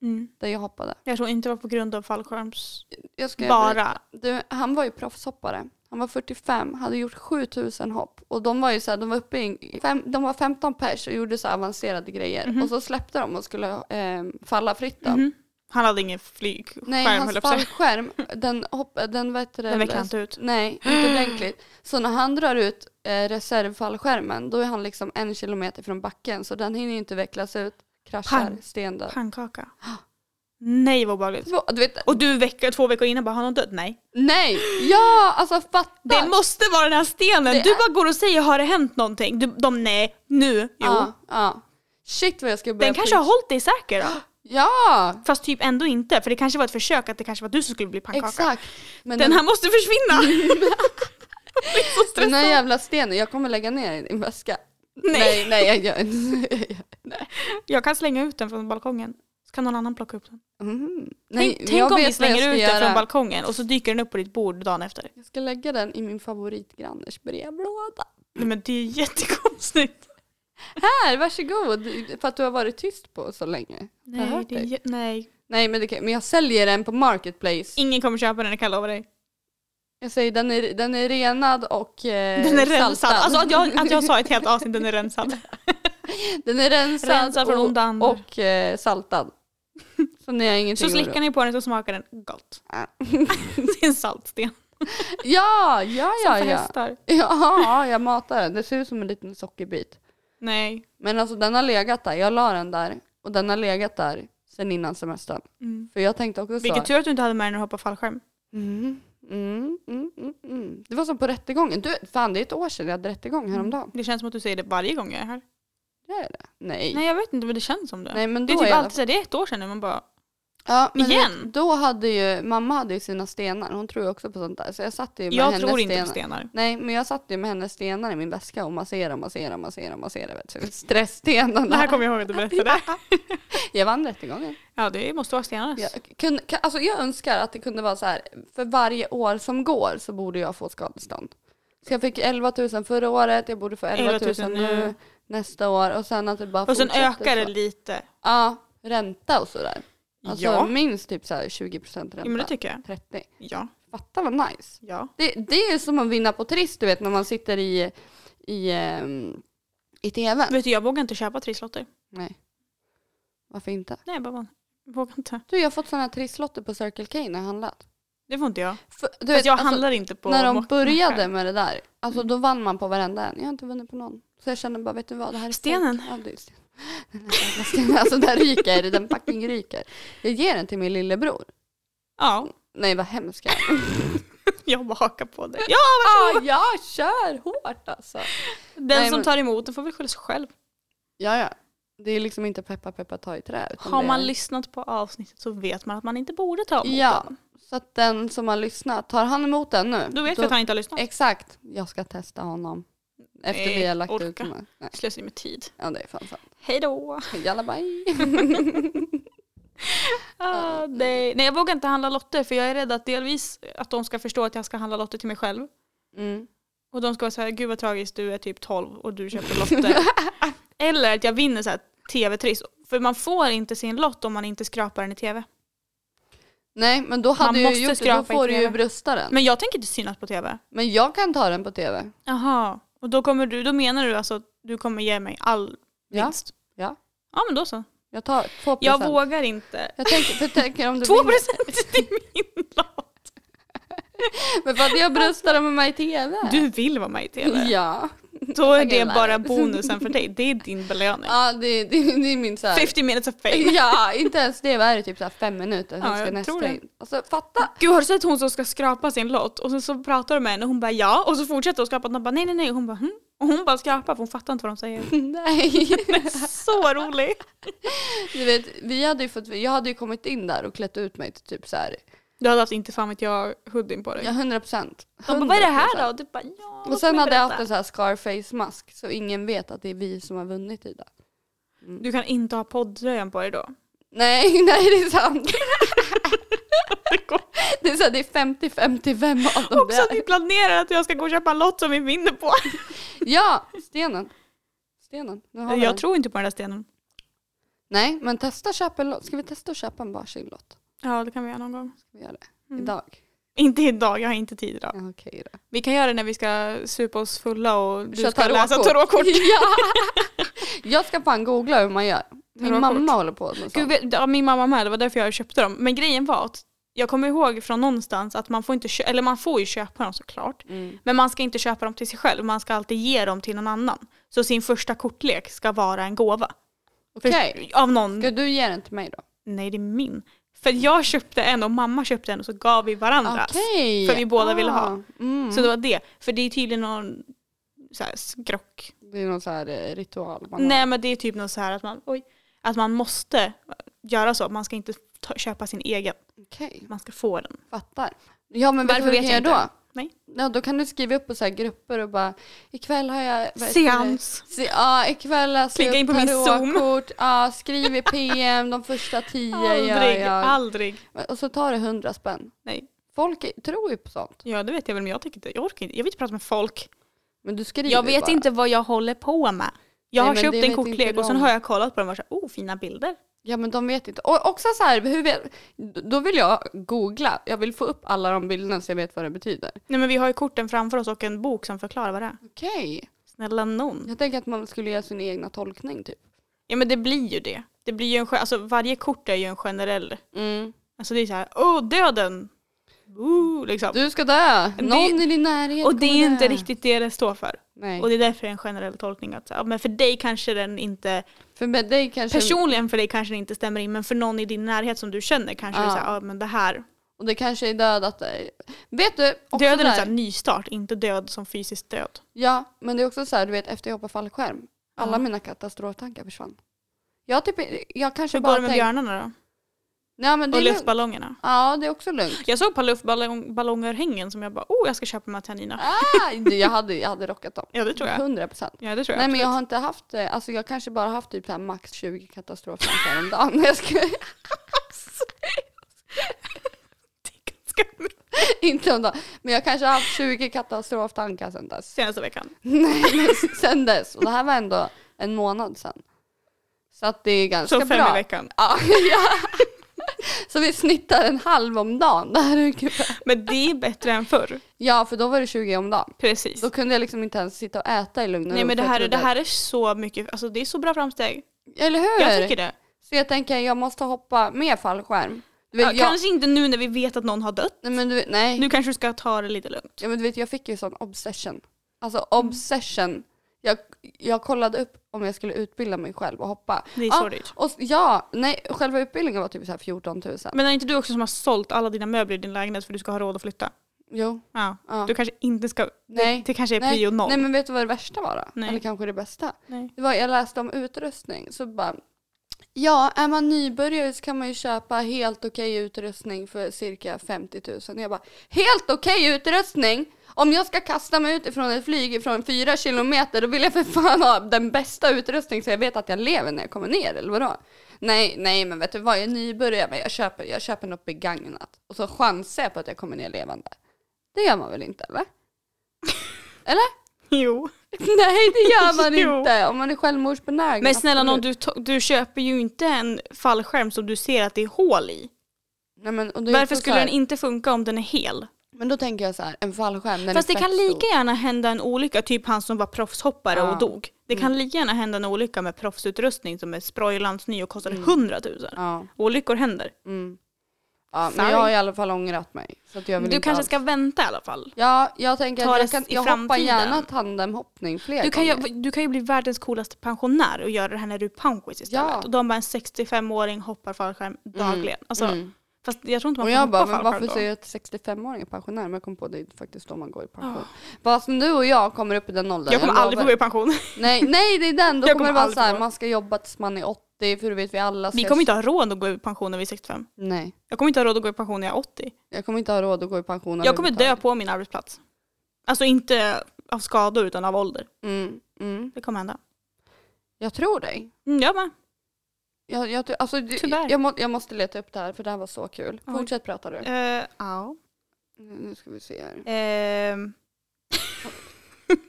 Mm.
Där jag hoppade.
Jag tror inte det var på grund av fallskärms...
Jag ska
Bara.
Du, han var ju proffshoppare. Han var 45, hade gjort 7000 hopp. Och de var ju så här, de var uppe i, fem, de var 15 pers och gjorde så här avancerade grejer.
Mhm.
Och så släppte de och skulle eh, falla fritt då.
Mhm. Han hade ingen flygskärm
Nej,
höll
hans
jag på att säga.
fallskärm, den, hopp, den vad heter det?
Den vecklade inte ut.
Typ. Nej, inte ordentligt. Så när han drar ut eh, reservfallskärmen då är han liksom en kilometer från backen så den hinner ju inte vecklas ut. Kraschar,
Pang.
stendöd. [GASPS]
Pannkaka. Nej vad obehagligt.
Två- Du vet,
Och du vecka, två veckor innan bara, har någon dött? Nej.
nej, ja alltså fatta!
Det måste vara den här stenen.
Det
du
är-
bara går och säger, har det hänt någonting? Du, de, nej, nu, jo.
Ja, ja. Shit vad jag ska börja
den kanske har
preach.
hållit dig
[GASPS]
säker då.
Ja,
Fast typ ändå inte, för det kanske var ett försök att det kanske var du som skulle bli pannkaka.
exakt. Men
Den här måste försvinna!
[LAUGHS]
[LAUGHS] Jag är så
den
stressad.
här jävla stenen, jag kommer lägga ner den i en väska.
Nej.
nej, nej jag gör inte
Jag kan slänga ut den från balkongen. Så kan någon annan plocka upp den.
mm.
Nej,
Nej,
tänk
jag
om vi
vet vad jag
slänger
ska
ut den
göra.
från balkongen och så dyker den upp på ditt bord dagen efter.
Jag ska lägga den i min favoritgrannes brevlåda.
Nej, men det är ju jättekonstigt.
Här, varsågod. För att du har varit tyst på så länge. Jag har
Nej,
hört
det är,
dig.
jä- nej,
nej men, det kan, men jag säljer den på Marketplace.
ingen kommer köpa den, det kan jag lova dig.
Eh, Jag säger den är, den är renad och eh,
[LAUGHS] Den är rensad.
saltad.
Alltså att jag, att jag sa ett helt avsnitt, den är rensad.
[LAUGHS] Den är rensad,
Rensad från onda
och,
andar.
och eh, saltad. [LAUGHS] Så ni har ingenting
Så
att oroa
slickar ni på den så smakar den
[LAUGHS]
gott. Det är en saltsten.
Ja, ja, ja.
För
[LAUGHS] ja.
hästar.
Jaha, jag matar den. Det ser ut som en liten sockerbit.
Nej.
Men alltså den har legat där. Jag la den där och den har legat där sedan innan semestern.
Mm.
För jag tänkte också så.
Vilket tur att du inte hade med den när du hoppade fallskärm.
Mm, mm, mm, mm, mm. Det var som på rättegången. Du, fan det är ett år sedan jag hade
Mm.
rättegång häromdagen.
Det känns som att du säger det varje gång jag är här.
Det är det. Nej.
Nej jag vet inte men det känns som det.
Nej, men
det är
då i
typ
alla
alltid så här, det är ett år sedan nu man bara
Ja, men
Igen?
vet- Då hade ju, mamma hade ju sina stenar, hon tror ju också på sånt där. Så jag satt ju med
Jag
hennes
tror inte
stenar.
på stenar.
Nej men jag satt ju med hennes stenar i min väska och masserade, masserade, masserade, masserade. Vet du. Stressstenarna.
Det här kommer jag ihåg att du berättade.
Jag vann rättegången.
Ja, det måste vara stenar.
Jag, kun, kan- alltså jag önskar att det kunde vara så här, för varje år som går så borde jag få skadestånd. Så jag fick 11 000 förra året, jag borde få 11 000,
11 000
nu,
nu.
nästa år och sen att det bara
Och sen
fortsätter
ökar det
så.
lite.
Ja, ränta och sådär. Alltså
ja.
minst typ så här 20% ränta.
ja, men det tycker jag.
30.
Ja,
Fatta vad nice.
ja.
Det, det är som att vinna på Triss du vet när man sitter i, i, ehm, i tvn.
Vet du, jag vågar inte köpa trisslotter.
Nej. Varför inte?
Nej, jag bara vågar- vågar inte.
Du jag har fått sådana här trisslotter på Circle K när jag handlat.
Det får inte jag.
För, du
Fast
vet,
jag
alltså,
handlar inte på
när de
Mock-
började
Mockar.
med det där, alltså då vann man på varenda en. Jag har inte vunnit på någon. Så jag känner bara, vet du vad, det här är
Stenen.
fake. Ja, det är sten. [LAUGHS] Den här jävla stenen, alltså den ryker, den fucking ryker. Jag ger den till min lillebror.
Ja,
Nej vad
[LAUGHS]
hemskt.
jag bara hakar på det. Ja,
Ah, jag kör hårt alltså.
den
Nej,
som
men-
tar emot den får väl skylla sig själv.
Ja, ja. Det är liksom inte peppa peppa ta i trä. utan
Har
det är-
man lyssnat på avsnittet så vet man att man inte borde ta emot
Ja,
den.
så att den som har lyssnat, tar han emot den nu?
Då vet vi att han inte har lyssnat.
Exakt, jag ska testa honom. Efter
Nej,
vi har lagt
orka.
ut de här. Nej,
Slöseri med tid.
ja det är fan sant.
Hej då!
Jalla bye.
[LAUGHS] Ah, nej. nej, jag vågar inte handla lotter för jag är rädd att delvis att de ska förstå att jag ska handla lotter till mig själv.
Mm.
Och de ska vara så här, gud vad tragiskt, du är typ 12 och du
[LAUGHS]
köper lotter. Eller att jag vinner så här tv-triss. För man får inte sin lott om man inte skrapar den i tv.
Nej men då hade
Man
du
måste
ju gjort det, då
skrapa i
får du ju
knäna.
brösta den.
Men jag tänker inte synas på tv.
Men jag kan ta den på tv.
Jaha, och då, kommer du, då menar du alltså att du kommer ge mig all
Ja.
vinst?
Ja.
Ja men då så.
Jag tar 2%.
Jag vågar inte.
Jag tänker, för jag tänker om du
[LAUGHS] Två
vinner-
procent till min lott.
Men för att jag bröstade med mig i tv.
Du vill vara med i tv.
Ja.
Då är det
gillar
bara
det.
bonusen för dig. Det är din belöning.
Ja det, det, det är min såhär.
50 minutes of fame.
[LAUGHS] Ja inte ens det, vad är det typ såhär fem minuter? Sen
Ja,
ska
jag tror
nästa
det.
in. Alltså
[LAUGHS]
fatta.
Gud har du sett hon som ska skrapa sin lott och sen så pratar de med henne och hon bara ja och så fortsätter hon att skrapa och de bara nej nej nej och hon bara hm? och hon bara skrapar för hon fattar inte vad
[LAUGHS]
de säger.
Nej.
Så rolig!
Du vet, vi hade ju fått, jag hade ju kommit in där och klätt ut mig till typ så här,
Du hade haft inte fan vet jag hoodien på dig.
ja 100 procent.
de bara vad är det här då? Och du bara ja.
Och
låt
sen
mig
hade jag
berätta."
haft en så här Scarface-mask så ingen vet att det är vi som har vunnit Ida.
Du kan inte ha poddröjan på dig då.
Nej, [LAUGHS] nej det är
[LAUGHS]
sant.
Det går.
Det är, så här, det är 50-50 vem av dem det
Också att
är.
ni planerar att jag ska gå och köpa en lott som vi vinner på.
Ja, stenen. Stenen. Nu har vi den.
Jag tror inte på den där stenen.
Nej, men testa att köpa en lott. Ska vi testa att köpa en varsin lott?
Ja det kan vi göra någon gång.
Ska vi göra det?
Mm.
Idag?
Inte idag, jag har inte tid idag.
Ja, okej då.
Vi kan göra det när vi ska supa oss fulla och du
Kör
ska läsa
tarotkort.
tarotkort.
[LAUGHS] Ja. Jag ska fan googla hur man gör. Min
Tarotkort.
mamma håller på med
Gud,
sånt.
vet- ja, min mamma med, det var därför jag köpte dem. Men grejen var att jag kommer ihåg från någonstans att man får inte köpa, eller man får ju köpa dem såklart.
Mm.
Men man ska inte köpa dem till sig själv, man ska alltid ge dem till någon annan. Så sin första kortlek ska vara en gåva. För-
Okej,
Av någon.
ska du ge den till mig då?
Nej, det är min. För jag köpte en och mamma köpte en och så gav vi varandras.
Okej.
För vi båda ville ha.
Mm.
Så det var det. För det är tydligen någon så här, skrock.
Det är någon så här eh, ritual. Man
Nej
har.
men det är typ något så här att man, oj, att man måste göra så. Man ska inte ta, köpa sin egen.
Okej,
Man ska få den.
fattar. Ja men
Varför
vet du vad
vet
du kan
jag
göra då?
inte? Nej.
Ja, då kan du skriva upp på så här grupper och bara ikväll har jag... vad heter det?
Seans.
Se, ja, ikväll läser jag
Klicka in
upp
på min Zoom.
tarotkort. Ja, skriv i PM de första tio.
Aldrig,
Ja,
aldrig.
ja. Och så tar det hundra spänn.
Nej.
Folk är- tror ju på sånt.
Ja det vet jag väl men jag tänker inte, jag orkar inte, jag vill inte prata med folk.
Men du skriver
Jag vet
bara.
inte vad jag håller på med. Jag
Nej, men
har
det
köpt
vet
en kortlek
inte
och sen
de.
har jag kollat på den och varit såhär, oh fina bilder.
Ja men de vet inte. Och också så här, hur vet, då vill jag googla. Jag vill få upp alla de bilderna så jag vet vad det betyder.
Nej men vi har ju korten framför oss och en bok som förklarar vad det är.
Okej.
Snälla någon.
Jag tänker att man skulle göra sin egna tolkning typ.
Ja men det blir ju det. Det blir ju en, gen- alltså varje kort är ju en generell,
Mm.
alltså det är såhär, åh oh, döden! Ooh, liksom.
Du ska dö!
Det-
Någon i din närhet
och det är
kommer
inte
dö.
riktigt det det står för.
Nej.
Och det är därför det är en generell tolkning. Att, så här, ja, men för dig kanske den inte
För med dig kanske...
Personligen för dig kanske det inte stämmer in men för någon i din närhet som du känner kanske det är
Ja.
såhär, ja men det här.
Och det kanske är död att... Vet du? Också
Döden är en
där,
sån här nystart, inte död som fysisk död.
Ja, men det är också så här, du vet efter jag hoppade fallskärm. Alla
Ja.
mina katastroftankar försvann. Jag, typ, jag kanske
Hur går
bara
det med
tänkt-
björnarna då?
Ja, men det
Och
är lugnt.
luftballongerna.
Ja, det är också lugnt.
Jag såg på luftballonger hängen som jag bara, oh jag ska köpa de här till Anina.
Ah, du, jag, hade, jag hade rockat dem.
Ja det tror jag.
100 procent.
Ja det tror jag.
Mm. Nej men jag
absolut.
har inte haft, eh, alltså jag kanske bara haft typ så här max 20 katastrofer om dagen. [LAUGHS] Jag
[LAUGHS]
ska,
Det är ganska mycket
inte om dagen. Men jag kanske har haft 20 katastroftankar sedan dess.
Senaste veckan.
[LAUGHS] Nej, men sen dess. Och det här var ändå en månad sedan. Så att det är ganska
Så fem
bra.
i veckan.
[LAUGHS] Ja, ja. Så vi snittar en halv om dagen. Det här är kul.
Men det är bättre än förr.
Ja, för då var det 20 om dagen.
Precis.
Då kunde jag liksom inte ens sitta och äta i lugn och
Nej
ro,
men det
för jag
här, är- det
trodde-
här är så mycket, alltså det är så bra framsteg.
Eller hur?
Jag tycker det.
Så jag tänker jag måste hoppa med fallskärm. Du vet,
Ja,
jag,
Kanske inte nu när vi vet att någon har dött.
nej, men du, vet- nej.
Nu kanske du ska ta det lite lugnt.
Ja men du vet jag fick ju sån obsession. Alltså obsession. Jag, jag kollade upp om jag skulle utbilda mig själv och hoppa.
Det är
Ja,
så dyrt.
Och, s- ja, nej själva utbildningen var typ så här 14 000.
Men är inte du också som har sålt alla dina möbler i din lägenhet för du ska ha råd att flytta?
Jo.
Ja.
Ja.
Du kanske inte ska...
Nej.
Det, det kanske är
Nej,
prio noll.
nej men vet du vad det värsta var då?
Nej.
Eller kanske det bästa?
Nej.
Det var jag läste om utrustning så bara Ja, är man nybörjare så kan man ju köpa helt okej utrustning för cirka 50 000. Jag bara, helt okej utrustning? Om jag ska kasta mig ut ifrån ett flyg ifrån fyra kilometer då vill jag för fan ha den bästa utrustning så jag vet att jag lever när jag kommer ner eller vadå? Nej, nej men vet du vad, jag är nybörjare men jag köper, jag köper något begagnat och så chansar jag på att jag kommer ner levande. Det gör man väl inte eller?
Jo.
[LAUGHS] Nej det gör man
Jo.
inte om man är självmordsbenägen.
Men snälla någon,
absolut.
du, to- du köper ju inte en fallskärm som du ser att det är hål i.
Nej, men, och det är
Varför
också
skulle
så här-
den inte funka om den är hel?
Men då tänker jag så här, en fallskärm. Den
Fast
är
det kan
fett
lika
stor.
gärna hända en olycka, typ han som var proffshoppare
Ja. Mm.
och dog. Det kan lika gärna hända en olycka med proffsutrustning som är sprojlans ny och kostar
Mm.
hundratusen.
Ja,
Olyckor händer.
mm. ja men
Sorry.
jag har i alla fall ångrat mig. Så att jag vill
Du
inte
kanske
alls.
ska vänta i alla fall.
Ja, jag tänker
ta
att
det
jag, kan,
i
jag hoppar
framtiden.
gärna tandemhoppning fler
Du kan, ju,
gånger.
du kan ju bli världens coolaste pensionär och göra det här när du är pensionär istället.
Ja.
Och de bara en 65-åring hoppar fallskärm dagligen. Alltså,
Mm.
Fast jag tror inte man
Och
får
jag
hoppa
bara, men
fallskärm
varför
då.
säger jag att 65-åring är pensionär? Men jag kom på det är faktiskt då man går i pension. Bara som du och jag Alltså, kommer upp i den åldern.
Ah. Jag kommer aldrig få
lovar.
gå i pension.
Nej, nej det är den. Då
Jag
kommer det
kommer
vara
aldrig
så här,
få.
man ska jobba tills man är 80 för du vet vi alla ska...
Vi kommer inte ha råd att gå i pension när vi är 65.
Nej,
Jag kommer inte ha råd att gå i pension när jag är 80.
jag kommer inte ha råd att gå i pension
Jag kommer dö
överhuvudtaget.
på min arbetsplats. Alltså inte av skador utan av ålder.
Mm, mm.
Det kommer hända.
Jag tror dig.
Mm, jag med.
Jag, jag, ty- alltså, du-
Tyvärr.
Jag, må, jag måste leta upp det här för det här var så kul.
Ja.
Fortsätt prata du.
Eh, ja.
Nu ska vi se här.
Ehm,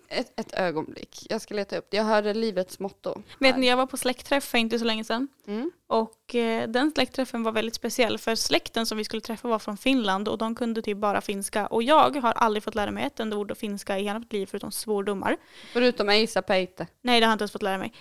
Ett, ett ögonblick. Jag ska leta upp det. Jag hörde livets motto.
vet ni, jag var på släktträff för inte så länge sedan.
Mm.
Och eh, den släktträffen var väldigt speciell för släkten som vi skulle träffa var från Finland och de kunde typ bara finska. Och jag har aldrig fått lära mig ett enda ord av finska i hela mitt liv förutom svordomar.
Förutom Eisa Peite.
Nej, det har jag inte ens fått lära mig.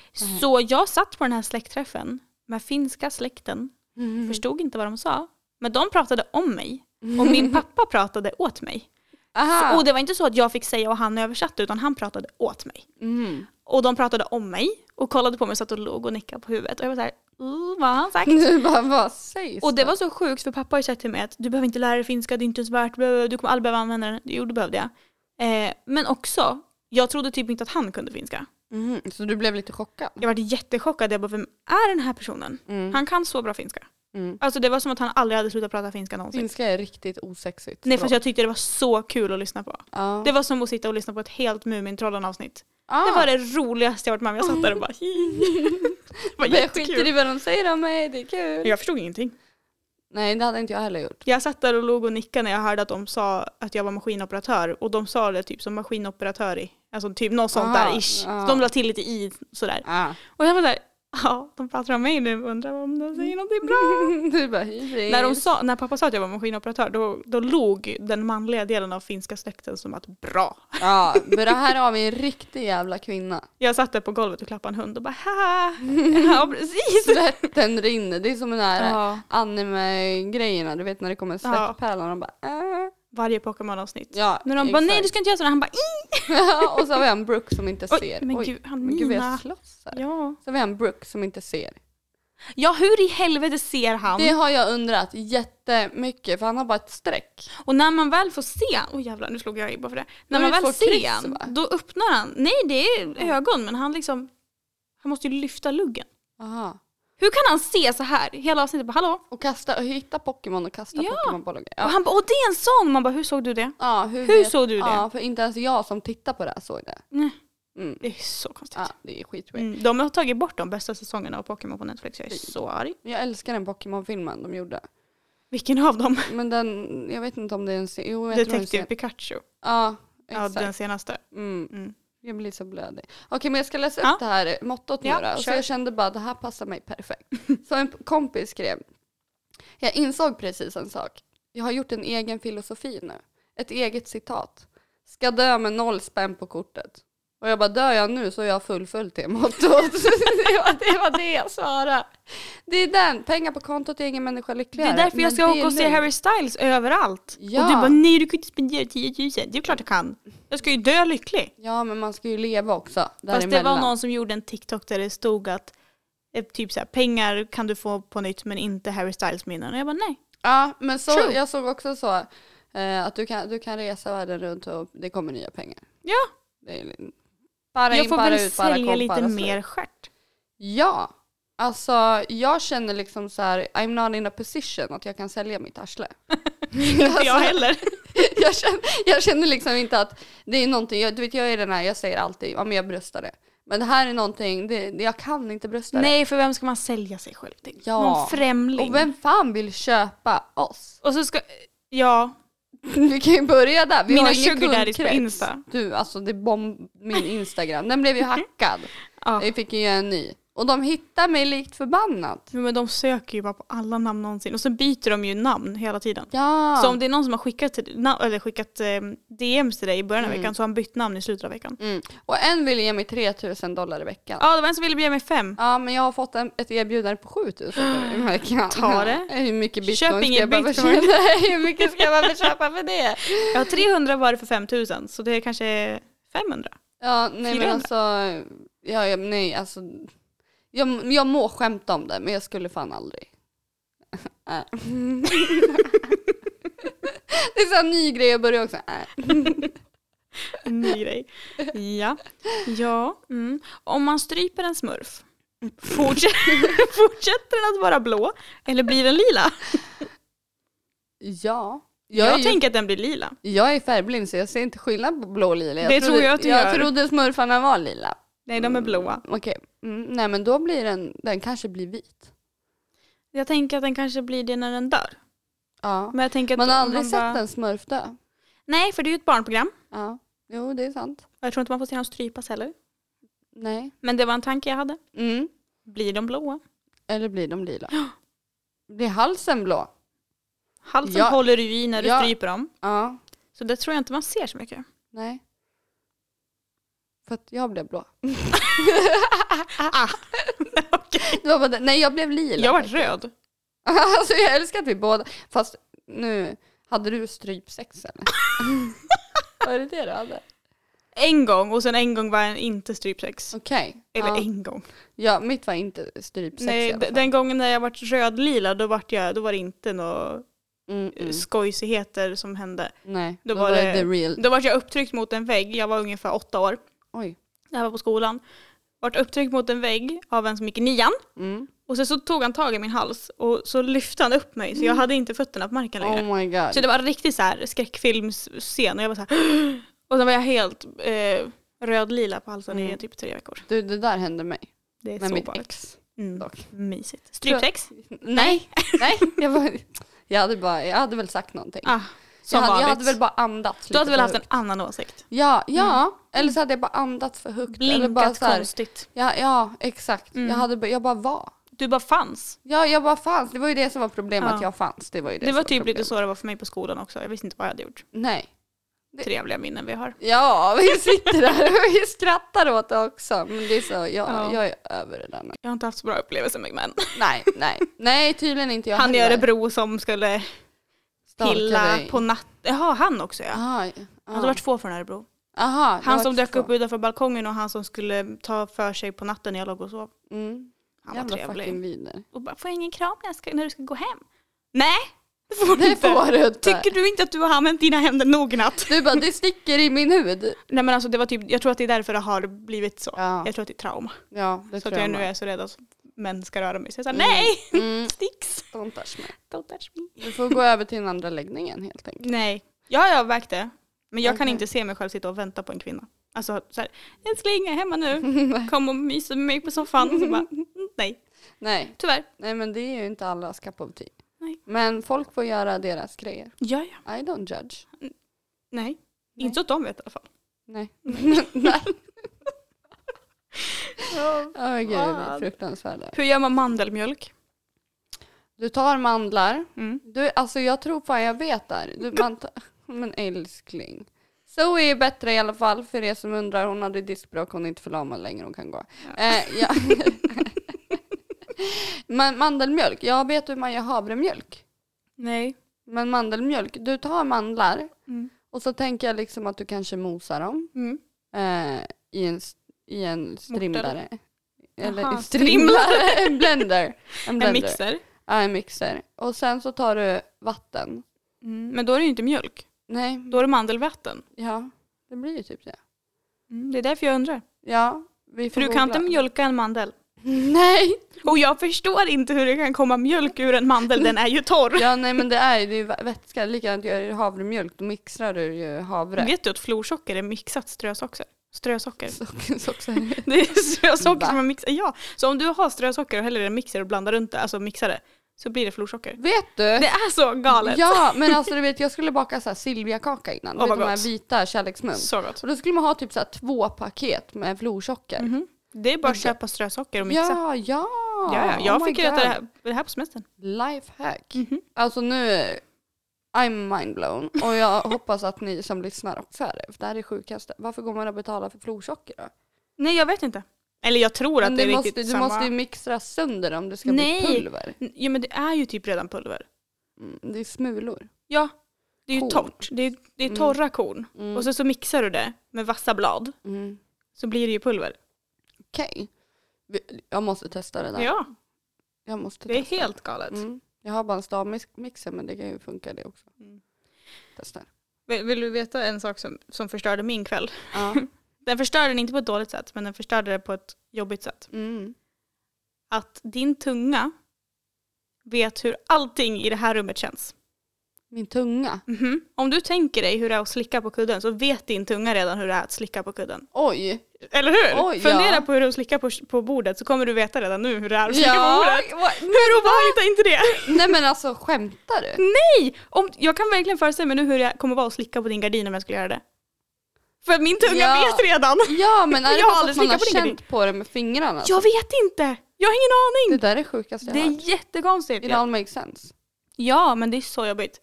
Så jag satt på den här släktträffen med finska släkten.
Mm.
Förstod inte vad de sa. Men de pratade om mig. Och min pappa pratade åt mig.
Aha.
Och det var inte så att jag fick säga och han översatte utan han pratade åt mig.
Mm.
Och de pratade om mig och kollade på mig så att och låg och nickade på huvudet. Och jag var såhär, "Uh, vad har han sagt?
Nu bara, vad sägs?
Och
då?
det var så sjukt för pappa har ju sagt till mig att du behöver inte lära dig finska, det är inte ens värt, du kommer aldrig behöva använda den. Jo, det behövde jag. Eh, men också, jag trodde typ inte att han kunde finska.
Mhm. Så du blev lite chockad?
Jag var jättechockad, jag bara, vem är den här personen?
Mm.
Han kan så bra finska.
Mm.
Alltså det var som att han aldrig hade slutat prata finska någonsin.
Finska är riktigt osexigt.
Nej, fast jag tyckte det var så kul att lyssna på.
Ja.
Det var som att sitta och lyssna på ett helt Mumintrollen-avsnitt.
Ah.
Det var det roligaste jag varit med om. Jag satt där och
[LAUGHS]
bara Det var
Men jag skiter
jättekul.
i vad de säger om mig, det är kul.
Jag förstod ingenting.
Nej, det hade inte jag heller gjort.
Jag satt där och låg och nickade när jag hörde att de sa att jag var maskinoperatör och de sa det typ som maskinoperatör i, alltså typ något sånt
Aha,
där ish.
ja.
Så de la till lite i sådär.
Ah.
Och jag var där, ja de pratar om mig nu undrar om de säger någonting
[LAUGHS]
bra.
du bara, hej.
När, de sa, när pappa sa att jag var maskinoperatör då, då log den manliga delen av finska släkten som att bra.
Ja, men det här har vi en riktig jävla kvinna.
Jag satt där på golvet och klappade en hund och bara haha. [LAUGHS] Ja precis.
Svetten rinner. Det är som den här
Ja.
anime-grejerna. Du vet när det kommer svettpärlan och bara äh.
Varje Pokémon-avsnitt.
Ja,
När de bara nej du ska inte göra sådär, han bara "Ih."
exakt. [LAUGHS] Och så har vi en Brooke som inte
Oj,
ser.
men
Oj,
gud,
men gud vad
Hanina.
jag slåss här.
Ja.
Så har vi en Brooke som inte ser.
ja hur i helvete ser han?
Det har jag undrat jättemycket för han har bara ett streck.
Och när man väl får se, oj jävlar nu slog jag i bara för det. När
Då
man
är det
väl
ett porträtt,
ser han,
va?
då öppnar han. Nej det är ögon men han liksom, han måste ju lyfta luggen.
Aha.
Hur kan han se så här? Hela avsnittet bara hallå?
Och kasta, och hitta Pokémon och kasta
Ja.
Pokémonbollar.
Och
Ja.
han bara åh det är en sång! Man bara hur såg du det?
Ja, hur
Hur
vet-
såg du det?
Ja, för inte ens jag som tittar på det här såg det.
Nej.
Mm.
Det är så konstigt.
Ja, det är skitweird.
Mm. De har tagit bort de bästa säsongerna av Pokémon på Netflix. Jag är så arg.
Jag älskar den Pokémon-filmen de gjorde.
Vilken av dem?
Men den, jag vet inte om det är en serie. Jo, jag tror det är en
Detective
serie.
Pikachu.
Ja,
Ja,
exakt.
den senaste.
Mm.
Mm.
Jag blir så blödig. Okej men jag ska läsa upp
Ja.
det här mottot nu
Ja,
då. Så
kör.
jag kände bara det här passar mig perfekt. Så en kompis skrev. Jag insåg precis en sak. Jag har gjort en egen filosofi nu. Ett eget citat. Ska dö med noll spänn på kortet. Och jag bara dör jag nu så är jag fullföljt det mottot. [LAUGHS] det, var, det var det jag svarade. Det är den. Pengar på kontot är ingen människa
Det
lyckligare.
är därför jag
Men
ska
det
åka
är
och se
lugnt.
Harry Styles överallt.
Ja.
Och du bara nej du kan inte spendera 10 000. Det är klart jag kan. Jag ska ju dö lycklig.
Ja men man ska ju leva också.
Fast det var
däremellan.
någon som gjorde en TikTok där det stod att eh, typ så här, pengar kan du få på nytt men inte Harry Styles minnen. Och jag bara nej.
Ja, men så,
True.
jag såg också så eh, att du kan, du kan resa världen runt och det kommer nya pengar.
Ja,
Det är, li- bara
jag
in,
får
bara
väl
ut, bara alltså.
sälja
kom,
lite
bara
mer
slut. [LAUGHS]
stjärt.
Ja, alltså jag känner liksom så här, I'm not in a position att jag kan sälja mitt
[LAUGHS]
arsle. [LAUGHS] Alltså,
Inte jag heller.
jag, känner, jag känner liksom inte att det är någonting, jag, du vet jag är den här, jag säger alltid, ja men jag bröstar det. Men det här är någonting, det, det- jag kan inte brösta det.
Nej, för vem ska man sälja sig själv till?
Ja.
Någon främling.
Och vem fan vill köpa oss?
Och så ska, ja,
Vi kan ju börja där. Vi
Mina
har ingen
sugar daddies på
kundkrets.
Insta. Mhm.
Du, alltså det bomb min Instagram. Den blev ju hackad.
ja.
Vi fick ju göra en ny. Och de hittar mig likt förbannat.
Men de söker ju bara på alla namn någonsin och sen byter de ju namn hela tiden.
Ja.
Så om det är någon som har skickat, till, na, eller skickat eh, DMs till dig i början av
Mm.
veckan så har han bytt namn i slutet av veckan.
mm. Och en ville ge mig 3000 dollar i veckan. Ja.
Ja, det var en som ville bjuda mig fem.
men jag har fått en, ett erbjudande på 7000 i veckan.
Ta det.
[LAUGHS] Hur mycket bitcoin
Köp
ska
ingen
jag behöva
bitcoin.
köpa? [LAUGHS] Nej, Hur mycket ska jag behöva köpa för det?
Ja, 300 var det för 5000 så det är kanske är 500.
Ja, nej men
400.
alltså. Ja, ja, nej alltså. Jag, jag må skämta om det men jag skulle fan aldrig. [LAUGHS] Äh.
[LAUGHS]
det är så här en ny grej jag börjar också. Äh. [LAUGHS]
En ny grej. Ja. Ja. Mm. Om man stryper en smurf, fortsätter, [LAUGHS] fortsätter den att vara blå eller blir den lila?
Ja. Jag,
Jag,
är ju,
tänker att den blir lila.
jag är färgblind så jag ser inte skillnad på blå och lila.
Det tror jag att du
jag
gör.
trodde smurfarna var lila.
Nej, de är blåa.
Okej, mm, nej men då blir den, den kanske blir vit.
Jag tänker att den kanske blir det när den dör.
Ja.
Men jag tänker att
Man har
om
aldrig
man
sett
bara-
en smurf dö.
Nej, för det är ju ett barnprogram.
Ja. Jo det är sant.
Jag tror inte man får se dem strypas heller.
Nej.
Men det var en tanke jag hade.
Mm.
Blir de blåa?
Eller blir de lila? Blir halsen blå?
Halsen
Ja.
håller du ju i när du
Ja.
stryper dem.
Ja.
Så det tror jag inte man ser så mycket.
Nej. För att jag blev blå.
[LAUGHS] Ah. Okej.
Det var bara det. Nej, jag blev lila.
Jag var röd.
[LAUGHS] Alltså jag älskar att vi båda... Fast nu, hade du strypsex
[LAUGHS]
eller? var det det du hade?
En gång och sen en gång var jag inte strypsex.
Okej.
Eller
Ja.
en gång.
ja, mitt var inte strypsex i
Nej,
alla
d-
fall.
den gången när jag var rödlila då, vart jag, då var det inte några eh,
Mm, mm.
skojsigheter som hände.
Nej,
då
då,
var
var
det-
det the real.
Då vart jag upptryckt mot en vägg. Jag var ungefär åtta år.
Oj.
Det här var på skolan. Vart upptryckt mot en vägg av en som gick i nian.
Mm.
Och sen så tog han tag i min hals och så lyfte han upp mig så
Mm.
jag hade inte fötterna på marken längre.
Oh my god.
Så det var en riktig så här skräckfilmsscen och jag var så här [GASPS] och sen var jag helt eh, rödlila på halsen i
Mm.
typ tre veckor.
Du, det där hände mig.
Det är
Med
så
mitt
barnigt.
ex
Mm.
dock.
Mysigt. Strypsex?
Nej, nej. [LAUGHS] Jag, bara, jag, hade bara, jag hade väl sagt någonting.
Ah, som
jag, hade,
vanligt.
jag hade väl bara andats
du
lite
hade väl
för
haft en
högt.
annan åsikt?
Ja, ja. Eller så hade jag bara andats för högt. eller
Blinkat
bara så här,
konstigt.
ja, ja, exakt.
Mm.
Jag, hade, bara- jag bara var.
Du bara fanns.
Ja, jag bara fanns. Det var ju det som var problemet,
Ja.
att jag fanns. Det var ju det,
Det, var
som
typ lite
problemet.
så det var för mig på skolan också. Jag visste inte vad jag hade gjort.
Nej. Det-
Trevliga minnen vi har.
Ja, [LAUGHS] vi sitter där och vi skrattar åt det också. Men det är så, jag,
Ja.
jag är över det där nu.
Jag har inte haft så bra upplevelser med män.
Nej, nej. Nej, tydligen inte jag
Han i
heller.
Örebro som skulle
Stalka
pilla
dig.
på natten. Jaha, han också ja.
Aha,
Han hade varit två från Örebro.
Aha, det
Han
var
som dök
två.
upp utanför balkongen och han som skulle ta för sig på natten när jag låg och sov.
Mm.
Han
Jävla
var trevlig.
fucking vider.
Och bara, får jag ingen kram när, jag ska, när du ska gå hem? Nej, det får du
[LAUGHS] Det
inte.
får du inte.
Tycker du inte att du har använt dina händer noggrant?
Du bara, det sticker i min hud.
Nej men alltså det var typ, jag tror att det är därför det har blivit så.
Ja,
Jag tror att det är trauma.
ja det
så
tror
att jag
jag
nu
med.
är så rädd att män ska röra mig. Så jag sa
Mm.
nej,
Mm,
sticks,
don't touch me.
don't touch me.
Du får gå över till den andra läggningen helt enkelt.
Nej, ja, jag har vägt det. Men jag kan
Okej.
inte se mig själv sitta och vänta på en kvinna. Alltså så här, älskling jag är hemma nu,
[LAUGHS]
kom och mys med mig på soffan. Och så bara, "Mm, nej,
Nej,
tyvärr.
nej men det är ju inte allas cup of tea.
Nej.
Men folk får göra deras grejer.
Ja, ja.
I don't judge.
Nej.
Nej.
Inte så att de vet i alla fall.
[LAUGHS] Nej. Nej. Åh gud, vi är
Fan.
fruktansvärda.
Hur gör man mandelmjölk?
Du tar mandlar.
Mm.
Du, alltså jag tror fan jag vet där. Du, man ta- [LAUGHS] men älskling. Zoe är bättre i alla fall för er som undrar. Hon hade diskbråck, hon är inte förlamad längre, hon kan gå. Eh, ja. [LAUGHS] men mandelmjölk, jag vet hur man gör havremjölk.
Nej.
Men mandelmjölk, du tar mandlar
Mm.
och så tänker jag liksom att du kanske mosar dem
Mm.
eh, i, en, s- i en strimlare. Eller
Aha,
i strimlare, en blender. En blender.
En mixer.
Ja, en mixer. Och sen så tar du vatten.
Mm. Men då är det ju inte mjölk.
Nej,
Då är det mandelvatten.
Ja, det blir ju typ det.
Mm. Det är därför jag undrar.
Ja, vi
För
får
du kan inte
googla.
mjölka en mandel.
[LAUGHS]
[LAUGHS]
Nej!
Och jag förstår inte hur det kan komma mjölk ur en mandel, den är ju torr.
Ja, nej men det är ju det är ju vätska. Likadant gör du havremjölk, då mixar du ju havre.
Vet du att florsocker är mixat strösocker? [LAUGHS] Strösocker.
Så- så- så-
Det är strösocker
Va?
som är mixat. Ja, så om du har strösocker och häller i en mixer och blandar runt det, alltså mixar det, så blir det florsocker.
Vet du?
Det är så galet.
Ja, men alltså du vet jag skulle baka så här Silviakaka innan.
Åh,
Oh,
vad
de här
gott.
vita kärleksmums.
Så gott.
Så då skulle man ha typ så här två paket med florsocker.
Mhm. Det är bara att
Men-
köpa strösocker och mixa.
Mm-hmm. Ja, ja!
Ja, ja. Jag
Oh my
fick ju äta det
God.
här, det här på semestern.
Lifehack.
Mhm.
Alltså nu, I'm mindblown. Och
[LAUGHS]
jag hoppas att ni som lyssnar också är det. För det här är det sjukaste. Varför går man och betalar för florsocker då?
Nej, jag vet inte. Eller jag tror att
Men
det
du
är
måste,
riktigt
du
samma.
måste ju mixa sönder om det ska
Nej.
bli pulver.
Ja, men det är ju typ redan pulver.
Mm, det är smulor.
Ja, det är ju
Korn.
torrt. Det är, det är
Mm.
torra korn.
Mm.
Och så, så mixar du det med vassa blad,
Mm.
så blir det ju pulver.
Okej. Vi- Jag måste testa det där.
Ja,
Jag måste
det är
testa.
helt galet.
Mm. Jag har bara en stavmixer men det kan ju funka det också.
Mm.
Testa.
Vill, vill du veta en sak som, som förstörde min kväll? [LAUGHS]
Ja.
Den förstörde den inte på ett dåligt sätt, men den förstörde det på ett jobbigt sätt.
Mm.
Att din tunga vet hur allting i det här rummet känns.
Min tunga.
Mhm. Om du tänker dig hur det är att slicka på kudden så vet din tunga redan hur det är att slicka på kudden.
Oj!
Eller hur?
Oj,
Fundera
ja.
på hur du slickar på, på bordet så kommer du veta redan nu hur det är att slicka på
Ja,
bordet.
vad-
Hur obehagligt är inte det?
Nej men alltså skämtar du?
Nej! Om, jag kan verkligen föreställa mig nu hur det kommer vara att slicka på din gardin om jag skulle göra det. För att min tunga
Ja.
vet redan.
Ja men är det
Jag har
bara för
aldrig
att man har
slickat på din
känt på det med fingrarna?
Jag vet inte! Jag har ingen
Det
aning!
där är sjukaste jag
Det
har hört.
är jättekonstigt.
It all makes sense.
Ja, men det är så jobbigt.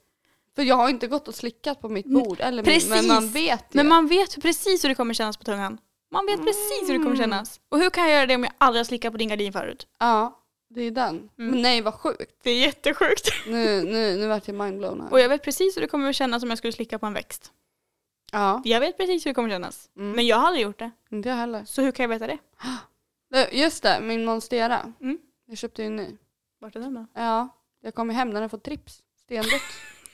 För jag har inte gått och slickat på mitt bord eller min,
Mm, precis.
men man vet ju.
Men man vet precis hur det kommer kännas på tungan. Man vet precis hur det kommer kännas. Och hur kan jag göra det om jag aldrig har slickat på din gardin förut?
Ja, det är den.
Mm.
Men nej vad sjukt.
Det är jättesjukt.
Nu, nu, nu vart jag mindblown här.
Och jag vet precis hur det kommer att kännas om jag skulle slicka på en växt.
Ja,
Jag vet precis hur det kommer att kännas.
Mm.
Men jag har aldrig gjort det.
inte jag heller.
Så hur kan jag veta det?
Eh, Just det, min Monstera.
Mm.
Jag köpte ju en ny.
Vart är den då?
Ja, jag kom hem när den fått trips. Stendött.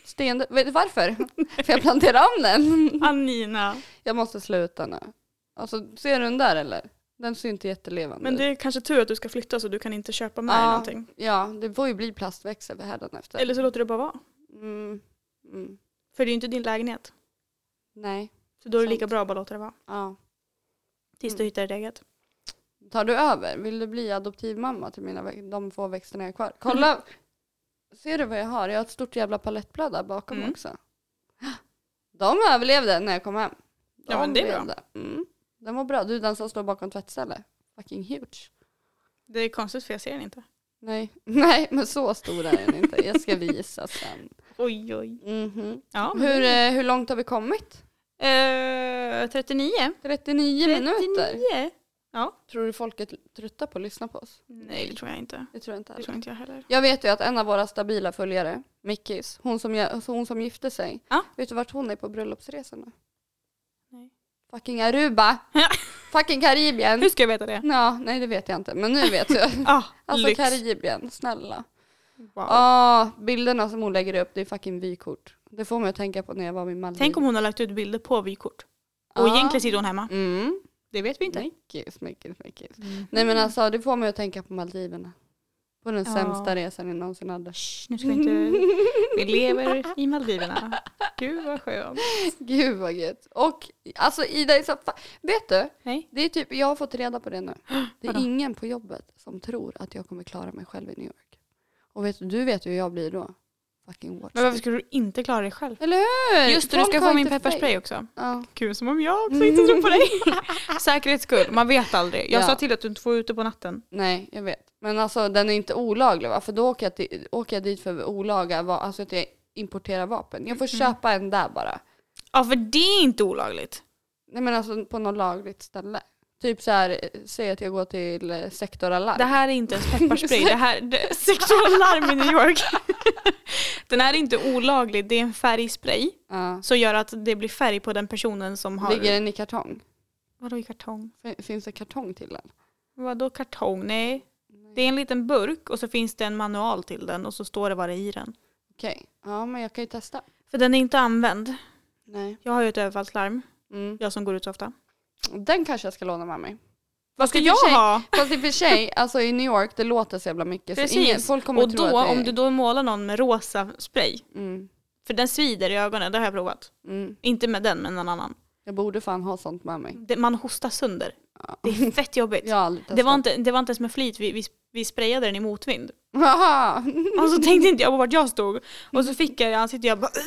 Stendött. Vet du
[LAUGHS]
varför? För jag planterade om den.
Ah. Anina.
Jag måste sluta nu. Alltså, ser du den där eller? Den ser ju inte jättelevande
Men det
ut.
är kanske tur att du ska flytta så du kan inte köpa med dig
Ja.
någonting.
Ja, det får ju bli plastväxel hädanefter.
Eller så låter du bara vara.
Mm. Mm.
För det är ju inte din lägenhet.
Nej,
Så då är det
Sant.
lika bra att bara låta det vara.
ja.
Tills du hittar ditt eget.
Tar du över? Vill du bli adoptivmamma till mina, vä- de få växterna jag har kvar?
Mm.
Kolla! Ser du vad jag har? Jag har ett stort jävla palettblad där bakom
Mm.
också. De överlevde när jag kom hem. De
Ja, men det är bra.
överlevde. Mm. Den var bra. Du, den som står bakom tvättstället. Fucking huge.
Det är konstigt för jag ser den inte.
Nej, [LAUGHS] Nej men så stor är den inte. Jag ska visa sen.
Oj oj.
Mhm.
Ja, men
Hur,
det-
eh, hur långt har vi kommit?
Eh, 39.
39, minuter.
Ja.
Tror du folk är trötta på att lyssna på oss?
Nej det tror jag inte.
Det tror jag inte
Det
heller.
tror inte jag heller.
Jag vet ju att en av våra stabila följare, Mickis, hon som, jag, alltså hon som gifte sig,
Ja.
vet du vart hon är på bröllopsresa nu?
Nej.
Fucking Aruba!
Ja.
Fucking Karibien!
Hur ska jag veta det?
Ja, nej det vet jag inte, men nu vet
[LAUGHS]
jag.
Mm. Ah,
Alltså
lyx.
Karibien, snälla.
Wow.
Ja, bilderna som hon lägger upp, det är fucking vykort. Det får mig att tänka på när jag var i Malmö.
Tänk om hon har lagt ut bilder på vykort. Och
Ja.
egentligen sitter hon hemma.
Mm.
Det vet vi inte.
Smickis, smickis, smickis. Nej men alltså det får mig att tänka på Maldiverna. På den
Ja.
sämsta resan jag någonsin hade.
Shh, nu ska vi inte... Vi lever i Maldiverna. Gud vad skönt.
[LAUGHS] Gud vad gött. Och alltså Ida är så fa- Vet du?
Nej.
Det är typ, jag har fått reda på det nu. Det är
Vadå?
ingen på jobbet som tror att jag kommer klara mig själv i New York. Och vet du, du vet ju hur jag blir då. Fucking watch.
Men varför skulle du inte klara dig själv?
Eller hur?
Just det, du
Folk
ska
har
få min
inte faith.
pepparspray också.
Ja.
Kul som om jag
[LAUGHS]
också inte tror på dig. Säkerhets skull, man vet aldrig. Jag
Ja.
sa till att du inte får vara ute på natten.
Nej, jag vet. Men alltså den är inte olaglig va? För då åker jag, till, åker jag dit för olaga, va- alltså att jag importerar vapen. Jag får köpa en där bara.
Ja för det är inte olagligt.
Nej men alltså på något lagligt ställe. Typ så här, eh, säg att jag går till eh, sektor alarm.
Det här är inte ens pepparspray, det här det, sexualarm i New York. [LAUGHS] Den här är inte olaglig, det är en färgspray
Ja.
som gör att det blir färg på den personen som har...
Ligger den i kartong?
Vadå i kartong?
Fin- Finns det kartong till den?
Vadå kartong? Nej. Det är en liten burk och så finns det en manual till den och så står det vad det är i den.
Okej, ja men jag kan ju testa.
För den är inte använd.
Nej.
Jag har ju ett överfallslarm,
Mm.
jag som går ut så ofta.
Den kanske jag ska låna med mig.
Vad ska
i och
jag
för sig-
ha?
Fast i och för
[LAUGHS]
sig, alltså i New York det låter så jävla mycket.
Precis.
Så ingen, folk kommer
och
tro
då,
att det är...
om du då målar någon med rosa spray,
Mm.
för den svider i ögonen, det har jag provat.
Mm.
Inte med den, men någon annan.
Jag borde fan ha sånt med mig.
Det, man hostar sönder. Det är fett jobbigt.
Jag har aldrig
Mm. det, var
testat.
inte, det var inte ens med flit, vi, vi, vi sprayade den i motvind.
[LAUGHS] Haha!
Och så tänkte inte jag på vart jag stod. Och så fick jag i ansiktet, jag bara... [LAUGHS]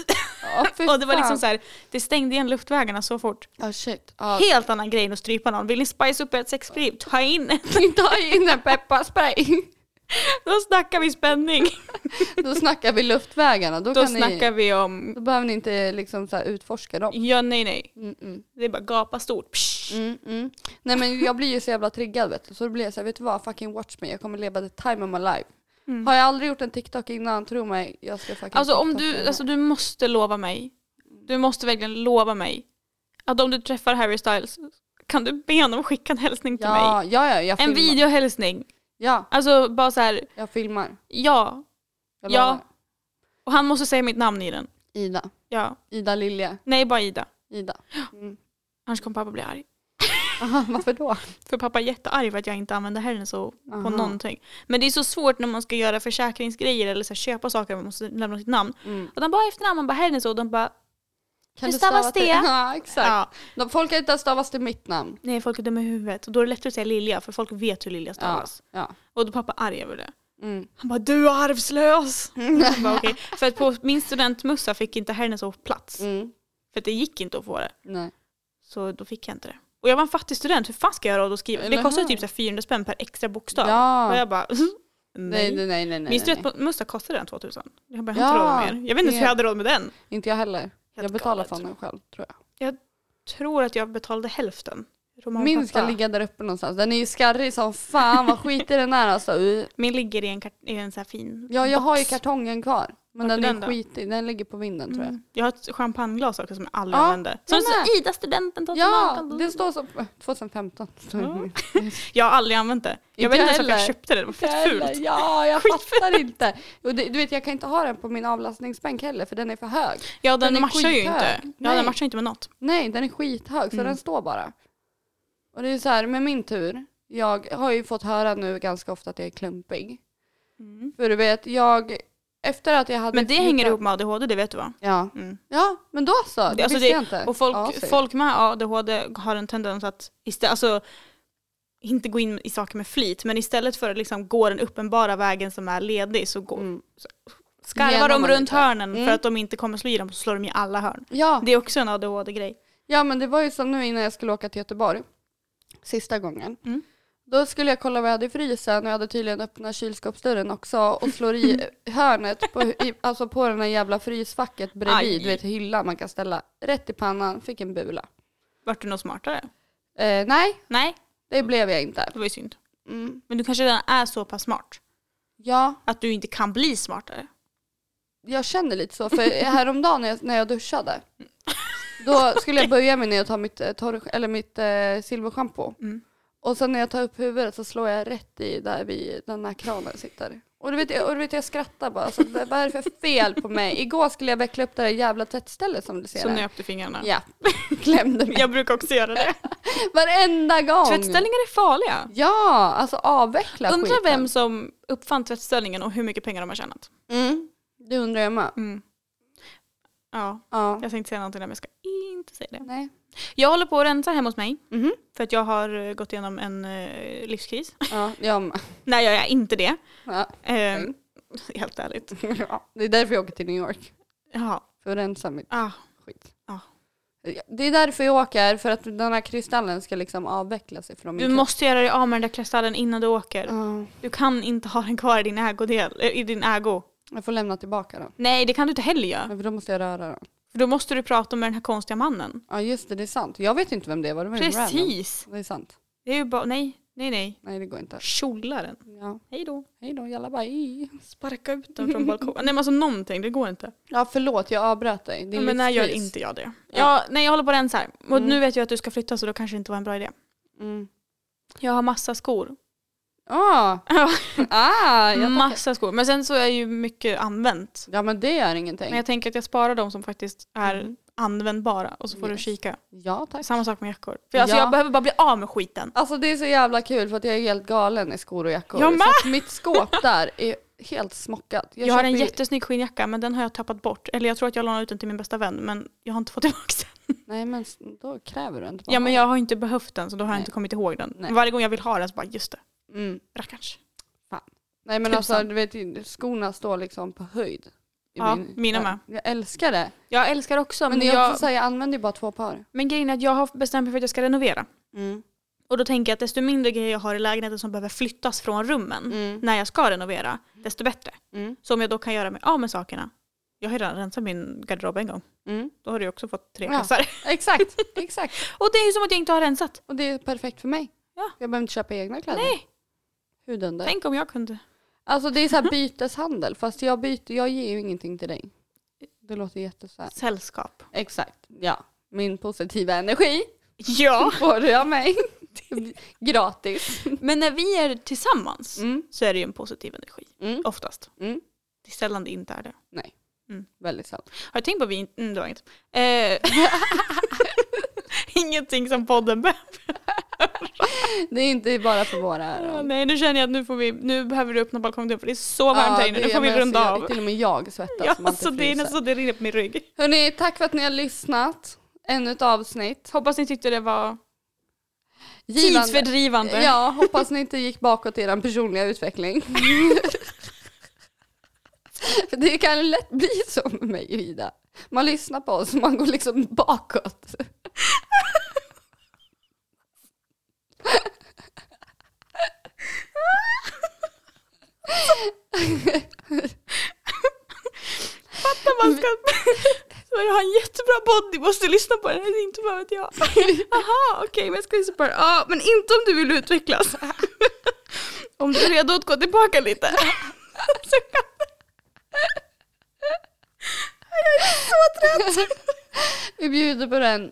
Ja, fy
Och det var liksom
fan.
så här, det stängde igen luftvägarna så fort.
Ja shit. Ja. [LAUGHS]
Helt annan grej än att strypa någon. Vill ni spice upp ert sexliv? Ta in
Ta in en pepparspray.
[LAUGHS] Då snackar vi spänning.
Då snackar vi luftvägarna. Då,
Då
kan ni,
snackar vi om...
då behöver ni inte liksom så här utforska dem.
Ja, nej, nej.
Mm, mm.
Det är bara gapa stort. Psh.
Mm, mm. Nej men jag blir ju så jävla triggad vet du. Så då blir jag så här, vet du vad? Fucking watch me. Jag kommer leva the time of my life. Har jag aldrig gjort en TikTok innan, tro mig. Jag ska fucking
Mm. Alltså om
TikToka den
du,
här.
alltså du måste lova mig. Du måste verkligen lova mig. Att om du träffar Harry Styles kan du be honom skicka en hälsning till mig.
ja, ja, ja, jag filmar.
En videohälsning.
Ja,
Alltså bara så här,
jag filmar.
ja.
Jag
Ja.
lovar.
Och han måste säga mitt namn i den.
Ida.
Ja.
Ida Lilja.
Nej, bara Ida.
Ida. Mm.
Annars kommer pappa bli arg.
Aha, [LAUGHS] varför då?
För pappa är jättearg för att jag inte använder henne så på
Aha.
någonting. Men det är så svårt när man ska göra försäkringsgrejer eller så här, köpa saker man måste lämna sitt namn.
Mm.
Och de bara efternamn, man bara Hernes och de bara
Kan
Hur
du
stavas
stava till-
det?
[LAUGHS] Ja, exakt.
ja.
De, folk har inte ens stavats till mitt namn.
Nej folk är dumma i huvudet. Och då är det lättare att säga Lilja för folk vet hur Lilja
Ja.
stavas. Alltså.
ja.
Och då pappa är arg över det.
Mm.
Han bara du är
[LAUGHS]
arvslös! Jag bara, "Okej." För att på min studentmössa fick inte Hernes och plats.
Mm.
För att det gick inte att få det.
Nej.
Så då fick jag inte det. Och jag var en fattig student, hur fan ska jag göra då att skriva?
Eller
Det kostar ju
hur?
typ så här 400 spänn per extra bokstav. Och
Ja.
jag bara [LAUGHS]
Nej,
nej.
nej, nej, nej, nej.
Min studentmössa kostade den 2000. Jag bara, jag har
Ja,
inte råd med mer. Jag vet inte hur
det-
jag hade råd med den.
Inte jag heller. jag
Helt
betalar
galet.
fan den själv tror jag.
Tror att jag betalade hälften. Roman
Min ska
pappa.
ligga där uppe någonstans. Den är ju skarrig som fan. Vad skit i den här
[LAUGHS]
alltså. Uh.
Min ligger i en, kart- i en så här fin
Ja, jag har ju
box.
kartongen kvar. Men
Vart
den
är
är
den då?
skitig. Den ligger på vinden tror jag.
Mm. Jag har ett champagneglas också som jag aldrig
Ja,
använder. Som
jag
det står
med.
Ida studenten 2018.
Ja, det står så. 2015.
Mm. Ja. Jag har aldrig använt det. Jag
Inte
vet inte
jag
ens varför jag
heller.
köpte det, det var fett
Jävlar,
[LAUGHS] fult.
Ja, jag fattar inte. Och det, du vet, jag kan inte ha den på min avlastningsbänk heller för den är för hög.
Ja den,
Den är
matchar ju
skithög.
inte. Ja
Nej.
den matchar inte med något.
Nej, den är skithög så
Mm.
den står bara. Och det är så här med min tur. Jag har ju fått höra nu ganska ofta att jag är klumpig. För du vet, jag efter att jag hade...
Mm. Men det hänger ihop med ADHD, det vet du va?
Ja,
Mm.
ja men då så. Det
Alltså,
visste
det-
jag inte.
Och folk,
Ja, så är det.
folk med ADHD har en tendens att istället, alltså, inte gå in i saker med flit, men istället för att liksom gå den uppenbara vägen som är ledig så går,
Mm.
skarvar
Genom
de
man
runt
lite.
hörnen
Mm.
för att de inte kommer slå i dem så slår de i alla hörn.
Ja,
Det är också en ADHD-grej.
ja, men det var ju som nu innan jag skulle åka till Göteborg. Sista gången.
Mm.
Då skulle jag kolla vad jag hade i frysen och jag hade tydligen öppnat kylskåpsdörren också och slår
[LAUGHS]
i hörnet på, i, alltså på den här jävla frysfacket bredvid,
Aj.
du vet hyllan man kan ställa. Rätt i pannan, fick en bula.
Vart du något smartare?
Eh, nej,
Nej,
det blev jag inte.
det var ju synd.
Mm.
Men du kanske redan är så pass smart
Ja,
att du inte kan bli smartare.
jag känner lite så. För häromdagen när jag, när jag duschade, då skulle jag böja mig ner och ta mitt, eh, torr, eller mitt eh, silverschampo.
Mm.
Och sen när jag tar upp huvudet så slår jag rätt i där vi, den här kranen sitter. Och du vet, jag- och du vet jag skrattar bara. Så, vad är det för fel på mig? Igår skulle jag veckla upp det där jävla tvättstället som du ser
Så
där.
nöp du fingrarna.
Ja, [LAUGHS] klämde mig.
Jag brukar också göra det.
Varenda gång.
Tvättställningar är farliga.
Ja, alltså avveckla
Undrar
skiten.
vem som uppfann tvättställningen och hur mycket pengar de har tjänat.
Mm, det undrar jag med.
Mm. Ja,
Ja.
jag tänkte säga någonting där men jag ska inte säga det.
Nej.
Jag håller på att rensa hemma hos mig
Mhm.
för att jag har eh, gått igenom en eh, livskris. [LAUGHS]
Ja, jag med.
Nej, jag är inte det.
Ja.
Eh, [LAUGHS] helt ärligt.
[LAUGHS] Ja. Det är därför jag åker till New York.
Jaha.
För att rensa mitt
Ah.
skit.
Ja.
Det är därför jag åker, för att den här kristallen ska liksom avveckla sig från min
Du
kropp.
måste göra dig av med den där kristallen innan du åker.
Ja,
Du kan inte ha den kvar i din ägodel, eh, i din ägo.
jag får lämna tillbaka den.
Nej, det kan du inte heller göra.
Men För då måste jag röra den.
För då måste du prata med den här konstiga mannen.
Ja just det, det är sant. Jag vet inte vem det var. Det var ju en random.
Precis.
Det är sant.
Det är ju bara, nej, nej, nej.
Nej det går inte.
Kjola den.
Ja.
Hej då.
Hej då, jalla bye.
Sparka ut
[LAUGHS]
den från balkongen. Nej men alltså någonting, det går inte.
Ja förlåt, jag avbröt dig. Det är
Ja, men när gör
livskris.
inte jag det?
Ja.
Ja. nej jag håller på att rensa här. Och
Mm.
nu vet jag att du ska flytta så då kanske det inte var en bra idé.
Mm.
Jag har massa skor.
Ah.
Ja.
ah, jag tackar.
massa skor. Men sen så är ju mycket använt.
Ja men det är ingenting.
Men jag tänker att jag sparar de som faktiskt är
Mm.
användbara och så får
Yes.
du kika.
Ja tack.
Samma sak med jackor. För alltså,
Ja.
jag behöver bara bli av med skiten.
Alltså det är så jävla kul för att jag är helt galen i skor och jackor.
Jag med!
Så att mitt skåp där är helt smockat.
Jag, har en
köper ju-
jättesnygg skinnjacka men den har jag tappat bort. Eller jag tror att jag lånade ut den till min bästa vän men jag har inte fått tillbaka den.
Nej men s- då kräver du inte bara.
Ja men jag har inte behövt den så då har jag
Nej.
inte kommit ihåg den.
Nej.
Varje gång jag vill ha den så bara just det,
Mm.
rackarns.
Nej men
Tusan.
alltså du vet ju, skorna står liksom på höjd. I
Ja, mina
ja.
med.
Jag älskar det.
Jag älskar också
Men
men,
det är
jag,
också så här, jag använder ju bara två par.
men grejen är att jag har bestämt mig för att jag ska renovera.
Mm.
Och då tänker jag att desto mindre grejer jag har i lägenheten som behöver flyttas från rummen
Mm.
när jag ska renovera, desto bättre.
Mm.
Så om jag då kan göra mig av med sakerna. Jag har ju redan rensat min garderob en gång.
Mm.
Då har du ju också fått tre
Ja.
kassar. [LAUGHS]
Exakt, [LAUGHS] exakt.
Och det är ju som att jag inte har rensat.
Och det är perfekt för mig.
Ja.
Jag behöver inte köpa egna kläder.
Nej,
Huden där.
tänk om jag kunde.
Alltså det är så här [LAUGHS] byteshandel fast jag byter, jag ger ju ingenting till dig. Det låter jättesåhär.
Sällskap.
Exakt, ja. Min positiva energi
Ja,
får du av mig. Gratis.
men när vi är tillsammans
Mm,
så är det ju en positiv energi.
mm,
Oftast.
mm.
Det är sällan det inte är det.
Väldigt sant.
Har du tänkt på att vi inte... Mm, det var inget. Eh, [LAUGHS] ingenting som podden behöver.
Det är inte bara för våra
Ja,
öron.
nej, nu känner jag att nu, får vi, nu behöver du öppna balkongen för det är så varmt här
Ja,
inne.
det-
Nu får vi
men alltså,
runda
jag-
av.
Till och med jag svettas.
Ja,
om man inte
så det är
fryser.
nästan så det rinner på min rygg.
Hörrni, tack för att ni har lyssnat. Ännu ett avsnitt.
Hoppas ni tyckte det var
Givande.
tidsfördrivande.
Ja, hoppas ni inte gick bakåt i er personliga utveckling. [LAUGHS] För det kan lätt bli så med mig och Ida. Man lyssnar på oss, man går liksom bakåt.
När man ska... Så jag har en jättebra podd, ni måste lyssna på den. Det är inte bara att jag. Aha, okej, men jag ska lyssna på den. Ja, men inte om du vill utvecklas. Om du är redo att gå tillbaka lite. Så kan...
Vi bjuder på den.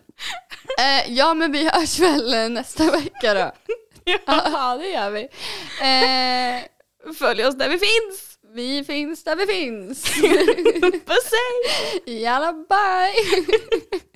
Eh, ja, men vi hörs väl eh, nästa vecka då. [LAUGHS] Ja, det gör vi. Eh,
Följ oss där vi finns.
vi finns där vi finns.
Puss hej!
Jalla, bye!